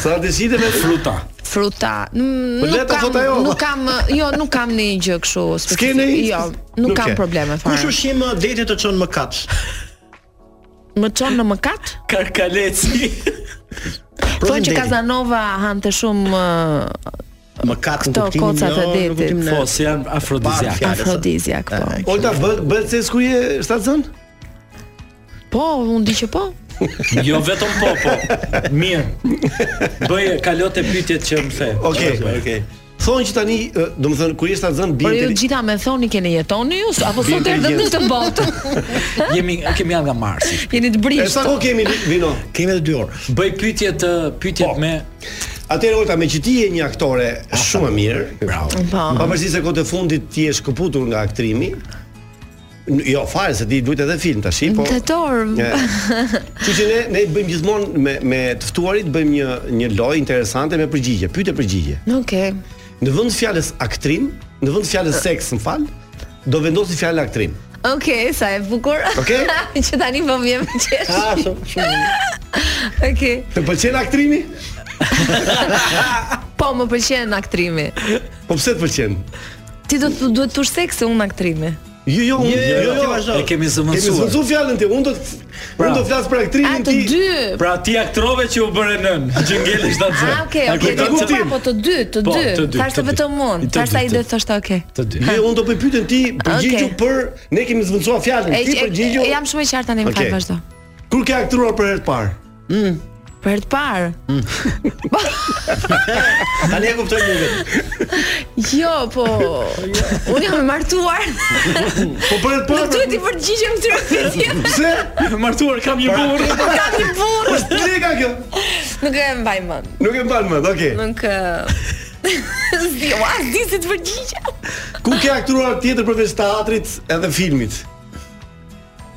Sa të shite me fruta. fruta. Mm, Po le Nuk ta kam, thot ajo. nuk kam, jo, nuk kam në gjë kështu S'ke specifike. ndonjë- Jo, nuk Nuk kam ke. probleme Kush fare. ushim ë, deti të çon mëkat? Më çon në mëkat? Karkaleci. Thonë që Kazanova hante shumë ë, Më katë në Këto kuptimin kocat e jo, në kuptimin e- detit. Po, si janë afrodiziak. Barë fjallës, Afrodiziak, uh, po. e, Olta bë bëhet se ku je shtatzën? Po, unë di që po. Jo vetëm po, po. Mirë. Bëj kalo te pyetjet që më the. Okej, okej. Thonë që tani, ë, domethënë kur je shtatzën Por ju bien gjitha me thoni keni jetoni ju, apo Bien sot erdhët në inteligent. të botë. Jemi kemi janë nga Marsi. Jeni të E sa kohë brisht. kemi vino? Kemi edhe 2 orë. Bëj pyetjet ë, pyetjet me Atëherë Olta, me që ti je një aktore Ah, shumë e mirë, bravo. Po. Pavarësisht se kohë të fundit ti je shkëputur nga aktrimi. N- Jo, fare se ti duhet edhe film tash, po. Tetor. E. Kështu që ne ne bëjmë gjithmonë me me të ftuarit bëjmë një një lojë interesante me përgjigje, pyetje përgjigje. Okej. Në vend të fjalës aktrim, në vend të fjalës seks, më fal, do vendosi fjalën aktrim. Okej, sa e bukur. Okej. që tani po vjen me qesh. Ah, shumë shumë. Okej. Të pëlqen aktrimi? Po, më pëlqen aktrimi. Po pse të pëlqen? Ti do të duhet të ush seksi unë aktrimi. Jo, jo, unë- Jo, jo, jo, ti vazhdo. E kemi zëvendësuar. Kemi zëvendësuar fjalën ti, unë do të unë do të flas për A aktrimin të ti. dy? Pra ti aktrove që u bërë nën, që ngelesh ta Ah, okej, okej, Ka të dy, kuptim. po të dy, të Po, dy. të dy, Thashë të dy. vetëm unë. Të dy, Thashë ai të do dy. thoshte okej. të dy. Jo, unë do të pyetën ti, përgjigju Okej. për ne kemi zëvendësuar fjalën, E, ti e- jo? përgjigju. e jam shumë e qartë tani, më Okej. fal vazhdo. Kur ke aktruar për herë të parë? Mm. Për herë të parë. Tani e kuptoj më vetë. Jo, po. Unë jam e martuar. Po për herë të Nuk parë. duhet i përgjigjem këtyre pyetjeve. Pse? Martuar kam një burr. Ka një burr. Është leka kjo. Nuk e mbaj mend. Nuk e mban më, okay. Nuk e- Zdi, ua, zdi si të përgjigja. Ku ke aktruar tjetër përveç teatrit edhe filmit?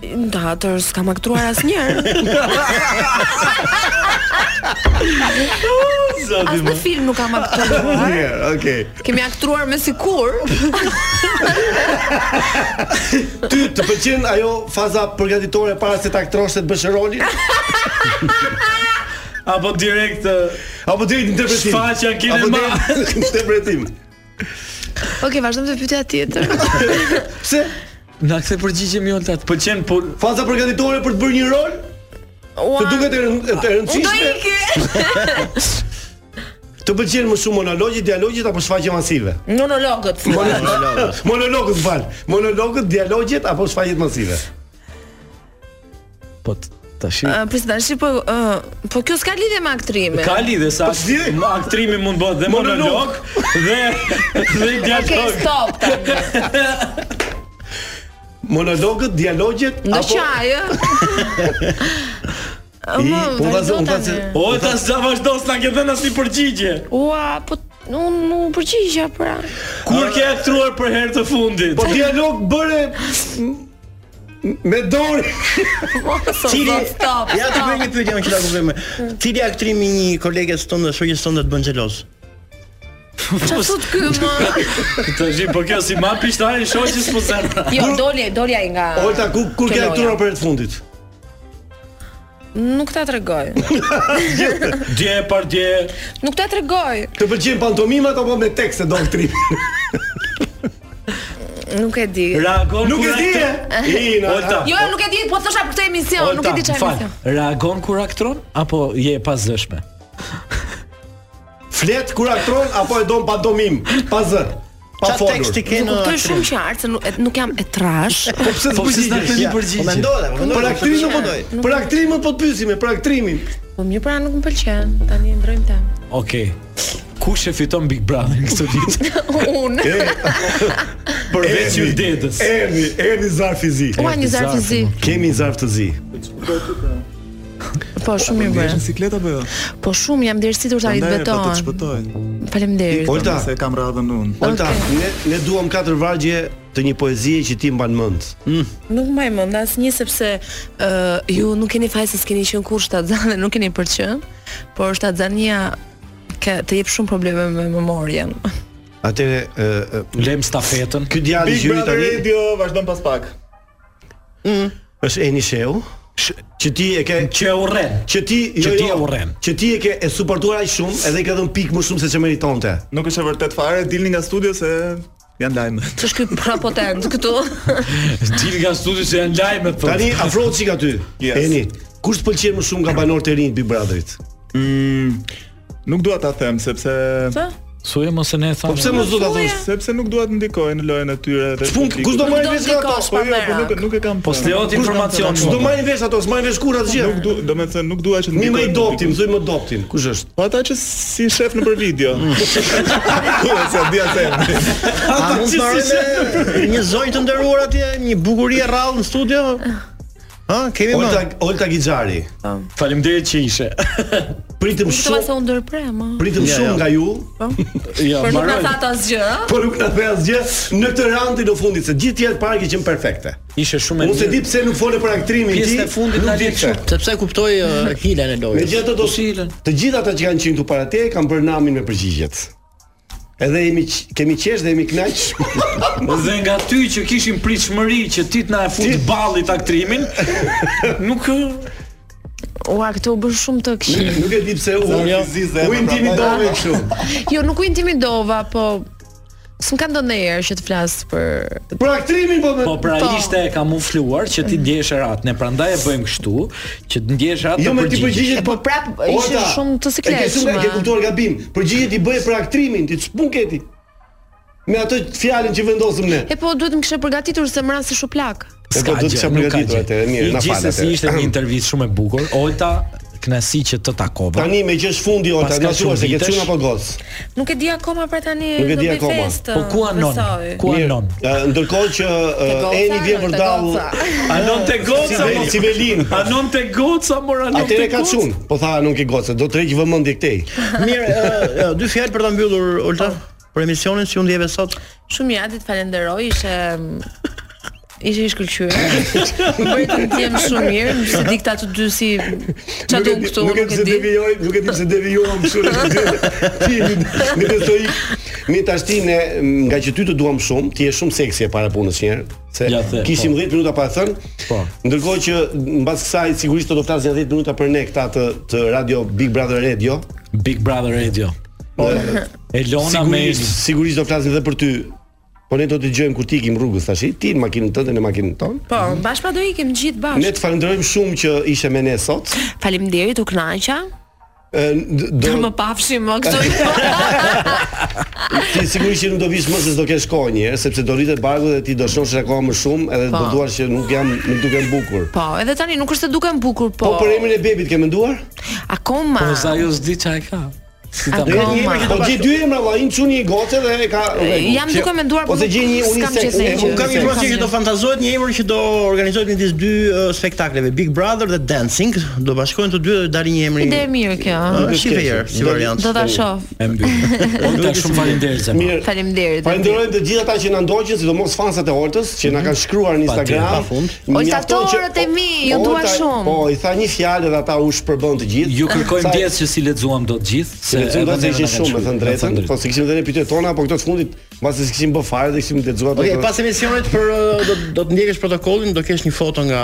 Në teatr s'kam aktruar asnjëherë. As në film nuk kam aktuar. Mirë, okay. Kemi aktruar me sikur. Ty të pëlqen ajo faza përgatitore para se të aktrosh se të bësh rolin? Apo direkt apo direkt interpretim. Shfaqja Apo kinema. direkt interpretim. Okej, vazhdojmë te pyetja tjetër. Pse? Na kthe përgjigje mi Olta. të Pëlqen po Faza përgatitore për të bërë një rol? Ua. Të duket e rën- e Unë do rëndësishme? ikë. Të pëlqen më shumë monologjet, dialogjet apo shfaqje masive? Monologët. Monologët. Monologët, fal. Monologët, dialogjet apo shfaqjet masive? Po t- tash Ë, Pse tash po ë, po kjo s'ka lidhje me aktrimin. Ka lidhje sa Po si? ma- aktrimi mund bëhet dhe Monolog. monolog dhe dhe dialog. Okej, stop tani. Monologët, dialogjet Në qaj, ë? Më, unë vazhdo vazhdo- unë tani. vazhdo- O ta s'ka vazhdo s'na ke dhënë asnjë përgjigje. Ua, po unë nuk përgjigja pra. Kur ke aktruar për herë të fundit? Po dialog bëre m- me dorë. Cili Po, stop. Ja të bëj një pyetje më që ta kuptoj më. Mm. Cili aktrimi i një koleges tonë dhe shoqes tonë të bën xheloz? Çfarë thot ky më? Tash po kjo si ma pishtari shoqës po zën. Jo, doli, doli ai nga. Olta ku kur ke Kjo loja. aktruar për herë të fundit? Nuk ta tregoj. Dje par dje. Nuk ta tregoj. Të pëlqen pantomimat apo me tekste do aktrim? Nuk e di. Reagon Nuk e kur di. e? Ina. Olta. Jo, nuk e di, po thosha për këtë emision, nuk e di çfarë fal. emision. Reagon kur aktron apo je e pazëshme? Flet kur aktron apo e don pantomim? Pa zë. Pa Çfarë folur. teksti ke Nuk në? kuptoj shumë qartë se nuk, e- nuk jam e trash. Po pse të Po pse s'na përgjigjesh? ktheni Ja, Po përgjigje? mendoj, po mendoj. Për aktrimin nuk po doj. Për aktrimin po të pyesime, për aktrimin. Po mirë pra nuk më pëlqen. Tani ndrojmë temë. Okej. Kush e fiton Big Brother këtë vit? Unë. Përveç ju dedës. Erni, Erni zarf i zi. Ua një zarf i zi. Kemi zarf të zi. Po shumë mirë bëre. Bicikleta po jo. Po shumë jam dërsitur tani të Prandaj, po të të betohen. shpëtoj. Faleminderit. Olta. Se kam radhën unë. Olta, ne ne duam katër vargje të një poezie që ti mban mend. Nuk mbaj mend asnjë sepse uh, ju nuk keni fajse se s'keni qenë kur shtatzan dhe nuk keni për qenë, por shtatzania ka të jep shumë probleme me memorien. Atëre Lem stafetën. ky djalë i Big gjyri Brother tani Radio vazhdon pas pak. është Eni Sheu, që ti e ke Që urren. që ti Që jo, ti e jo, urren. Që ti e ke e suportuar aq shumë edhe i ke dhënë pikë më shumë se ç'e meritonte. Nuk është e vërtet fare, dilni nga studio se janë lajme. Ç'është ky prapotent këtu? Dil nga studi se janë lajme po. Tani afrohet çik aty. Yes. Eni, kush të pëlqen më shumë nga banorët e rinj Big Brotherit? Mm, nuk dua ta them sepse Pse? Suje mos e ne tha. Po pse mos do ta thosh? Sepse nuk dua të ndikoj në lojën e tyre dhe. Çfun kush do marrë vesh nga ato? Po jo, po nuk nuk e kam. Po s'leot informacion. Do marrin vesh ato, s'marrin vesh kur asgjë. Nuk du, domethënë nuk dua që të Mi më i doptim, thuaj më doptin. Kush është? Po ata që si shef në për video. Kur se dia se. A mund të marrë një zonjë të nderuar atje, një bukurie rrallë në studio? Ha, kemi më. Olta Olta Gixhari. Faleminderit që ishe. Pritëm Nuk shumë. se unë ndërprer, më. Pritëm shumë nga ju. Po. Jo, Por nuk na mbaroj. thatë asgjë, ëh. Po nuk na the asgjë në këtë randin në fundit se gjithë tjerë parë që qenë perfekte. Ishe shumë Unë se di pse nuk fole për aktrimin ti. Pjesën e fundit nuk na di lë pse. shumë, sepse e kuptoj uh, hilën e lojës. Megjithatë do silën. Të gjithë ata që kanë qenë këtu para te kanë bërë namin me përgjigjet. Edhe jemi q- kemi qesh dhe jemi kënaq. Dhe nga ty që kishim pritshmëri që ti të na e fut ballit aktrimin, nuk Ua, këtu u bën shumë të këshill. Nuk e di pse u Zonja, u intimidove kështu. Jo, nuk u intimidova, po s'm ka ndonjëherë që të flas për Për aktrimin po. Po pra ishte e kamufluar që ti ndjesh ratën, e prandaj e bëjmë kështu, që të ndjesh ratën. Jo, të me ti përgjigjet, E po prap ishte Olta, shumë E ke shumë të sikletshme. e ke kuptuar gabim. Përgjigjet i bëje për aktrimin, ti ç'pun ke ti? Me atë fjalën që vendosëm ne. E po duhet më kishe përgatitur se më ran si shuplak. E po do të kisha përgatitur atë, mirë, na fal atë. Gjithsesi ishte një intervistë shumë e bukur. Olta, kënaqësi që të takova. Tani me që është fundi Olta, Paska na thua shumë se ke po vitesh. çun apo goc. Nuk e di akoma pra tani Nuk e do di bëj akoma. festë, Po ku anon? besoj. Ku anon? Ë, Ndërkohë që ë, Ke goca, Eni vjen anon te vërdall. goca. Anon te goca, Sibeli, mos- Sibelin. Anon te goca, mor anon te Atëre ka goca. çun. Po tha anon ke goca, do të rreq vëmendje këtej. Mirë, ë, ë, dy fjalë për ta mbyllur Olta për emisionin si u ndjeve sot. Shumë ja, ti të falenderoj, ishe ishe i shkëlqyer. Më bëri të ndjem shumë mirë, më se dikta të dy si çfarë do këtu, nuk e nuk di e se di. devijoj, nuk e di pse devijuam kështu në ti në të soi. Mi tash ti ne nga që ty të duam shumë, ti je shumë seksi e para punës një herë, se Ja, the, kishim po. 10 minuta pa e thënë. Po. Ndërkohë që mbas kësaj sigurisht do të flasin 10 minuta për ne këta të, të Radio Big Brother Radio. Big Brother Radio. Po. Elona me sigurisht, sigurisht do flasin edhe për ty. Po ne do të dëgjojmë kur ti ikim rrugës tash, ti në makinën tënde, në makinën tonë. Po, bashkë pa do ikim gjithë Ne bashkë. të falenderojmë shumë që ishe me ne sot. Faleminderit, u kënaqa. Ë, Do Do më pafshim më këtu. Po, Ti sigurisht që nuk do vish më se s'do kesh kohë një herë, sepse do rritet barku dhe ti do shohësh akoma më shumë, edhe Po. do duash që nuk jam nuk dukem bukur. Po, edhe tani nuk është se duken bukur, Po po. për emrin e bebit ke menduar? Akoma. Po za ju s'di çfarë ka. Si ta Do jetë një emër që do Po gjej dy emra valla, një çuni i gocë dhe e ka rregull. Jam duke menduar, po ose nuk- gjej një s'kam unisex. qenë e, gjë. unë Kam një informacion që do fantazohet një emër që do organizohet midis dy uh, spektakleve, Big Brother dhe Dancing, do bashkojnë të dy dhe dalë një emër. Ide e mirë kjo. Po, ëh. Ë, Shi vjer, si variant. Do ta shoh. Olta shumë faleminderit Zema. Mirë. Faleminderit. Falenderojmë të gjithë ata që na ndoqën, sidomos fansat e Oltës që na kanë shkruar në Instagram. Mhm. Pa fund. Mjafton që- Oltatorët e mi, ju dua Olta- shumë. Po, i tha një fjalë dhe ata u shpërbën të gjithë. Ju kërkojmë Sa- djesë që si lexuam dot gjithë, Se lexuam edhe dot se merren ishin nga shumë, me shkruaj, thënë drejtën, po se kishim dhënë pyetjet tona, po këto të fundit, mbas se kishim bë fare dhe kishim lexuar ato. Okej, pas emisionit për uh, do do të ndjekësh protokollin, do kesh një foto nga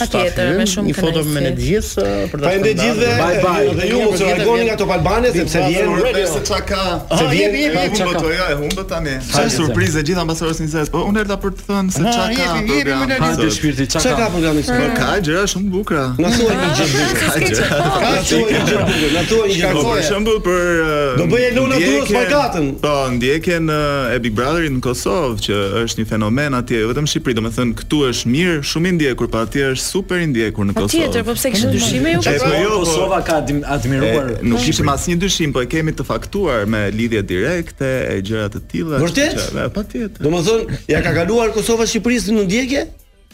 stafi Patjetër, ynë, me shumë një foto kënaqësi. me ne të gjithë uh, për ta Faleminderit shpërndarë. gjithëve. ju- Dhe ju mos u largoni nga Top Albane sepse vjen se çka ka. Se Ah, vjen jepi, jepi, çka humbët, ka. jo, e humbët tani. Sa Hajde, surprizë gjithë mbas orës 20. Po unë erdha për të thënë se Ah, çka ka jepi, jepi, më programi. lëri. Hajde, sot. shpirti, çka Çka ka? ka programi sot? Po ka gjëra shumë bukura. Na thuaj një gjë bukur. Ka s'ke gjëra. çfarë. Ka Na thuaj një gjë bukur, na thuaj një gjë Shkakoj, bukur. Po, Për shembull për eh, Do bëj Elona Durrës ndjekjen- pagatën. Po, ndjekjen eh, e Big Brotherit në Kosovë që është një fenomen atje, jo vetëm në Shqipëri, domethënë këtu është mirë, shumë i ndjekur, po atje është super i ndjekur në Kosovë. Patjetër, po pse kishte dyshime ju? E, po jo, po- Kosova ka admi- admiruar. E, nuk kishim asnjë dyshim, po e kemi të faktuar me lidhje direkte e gjëra të tilla. Vërtet? Patjetër. Domethënë, ja ka kaluar Kosova Shqipërisë në ndjekje?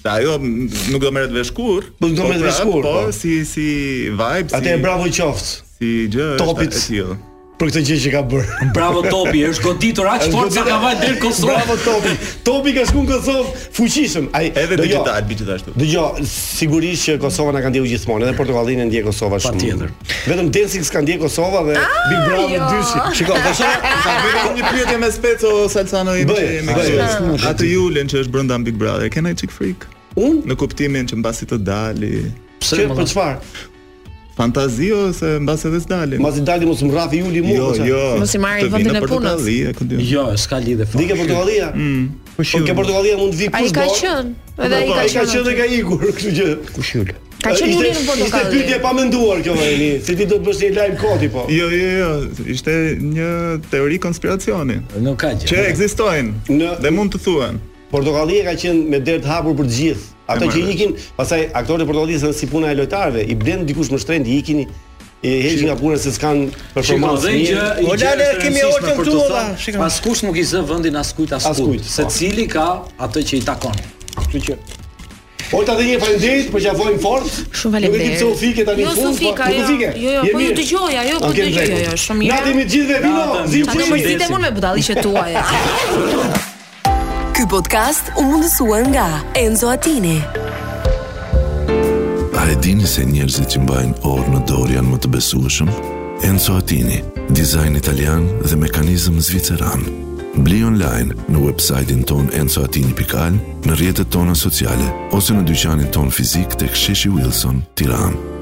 Ajo m- nuk do merret vesh kur. Po, nuk do merret pra, vesh kur, po. Po, si si vibe, si. Atë e bravo qoftë. Si gjë është Topit. e tillë. Për këtë gjë që ka bërë. Bravo Topi, është goditur aq Është fort sa goditur- ka vajt deri në Kosovë. Bravo Topi. Topi ka shkuar në Kosovë fuqishëm. Ai do Edhe jo. digital, bi gjithashtu. Dëgjoj, sigurisht që Kosova na ka ndjeku gjithmonë, edhe Portokallinë e ndjek Kosova shumë. Patjetër. Vetëm Dancing s'ka ndjek Kosova dhe Big Brother jo. 2. Shiko, tash ka bërë një pyetje me Speco Salsano i Bëje, bëje. Atë Julen që është brenda Big Brother, can I chick freak? Unë në kuptimin që mbasi të dali. Pse Që- po më për dha? çfarë? Fantazi ose mbasi edhe s'dali. Mbasi dali mos mrrafi Juli mua, Jo, po çfarë? jo. Mos i marri të vendin vinë e në punës. Portokalli, e ku di. Jo, s'ka lidhje fare. Dike Portokallia? Mm. Po ke Portokallia Po, mund të vi Ai kush do. ka qenë, edhe ai Po, ka ai ka qenë. qenë dhe ka ikur, kështu që. Kush Juli? Ka qenë Ishte- uli në portokall. Ishte pyetje pa menduar kjo vëni, se ti do të bësh një lajm koti po. Jo, jo, jo, ishte një teori konspiracioni. Nuk ka gjë. Që ekzistojnë dhe mund të thuhen. Portokallia ka qenë me derë të hapur për të gjithë. Ata E që marrë. i ikin, pastaj aktorët e portokallisë janë si puna e lojtarëve, i blen dikush më shtrenjtë, i ikin i heqin nga puna se s'kan performancë. mirë. Po, Pas kush nuk i zë vendin as kujt as Askujt, kujt. po. Secili ka atë që i takon. Kështu që Olta dhe një faleminderit, po qafojmë fort. Shumë Nuk e di pse u fike tani Jo, në fund. s'u fika, po- po jo. u fike? Jo, jo, Je po ju mirë? dëgjoja, jo, po Ok, dëgjoja, në rregull. jo, shumë mirë. Natën me gjithë dhe vino, Natën, zim tani më zitem unë me budalliqet tuaja. Ky podcast u mundësua nga Enzo Attini. A e dini se njerëzit që mbajnë orë në dorë janë më të besueshëm? Enzo Attini, dizajn italian dhe mekanizëm zviceran. Bli online në website-in ton enzoatini.al, në rjetët tona sociale, ose në dyqanin ton fizik të ksheshi Wilson, tiranë.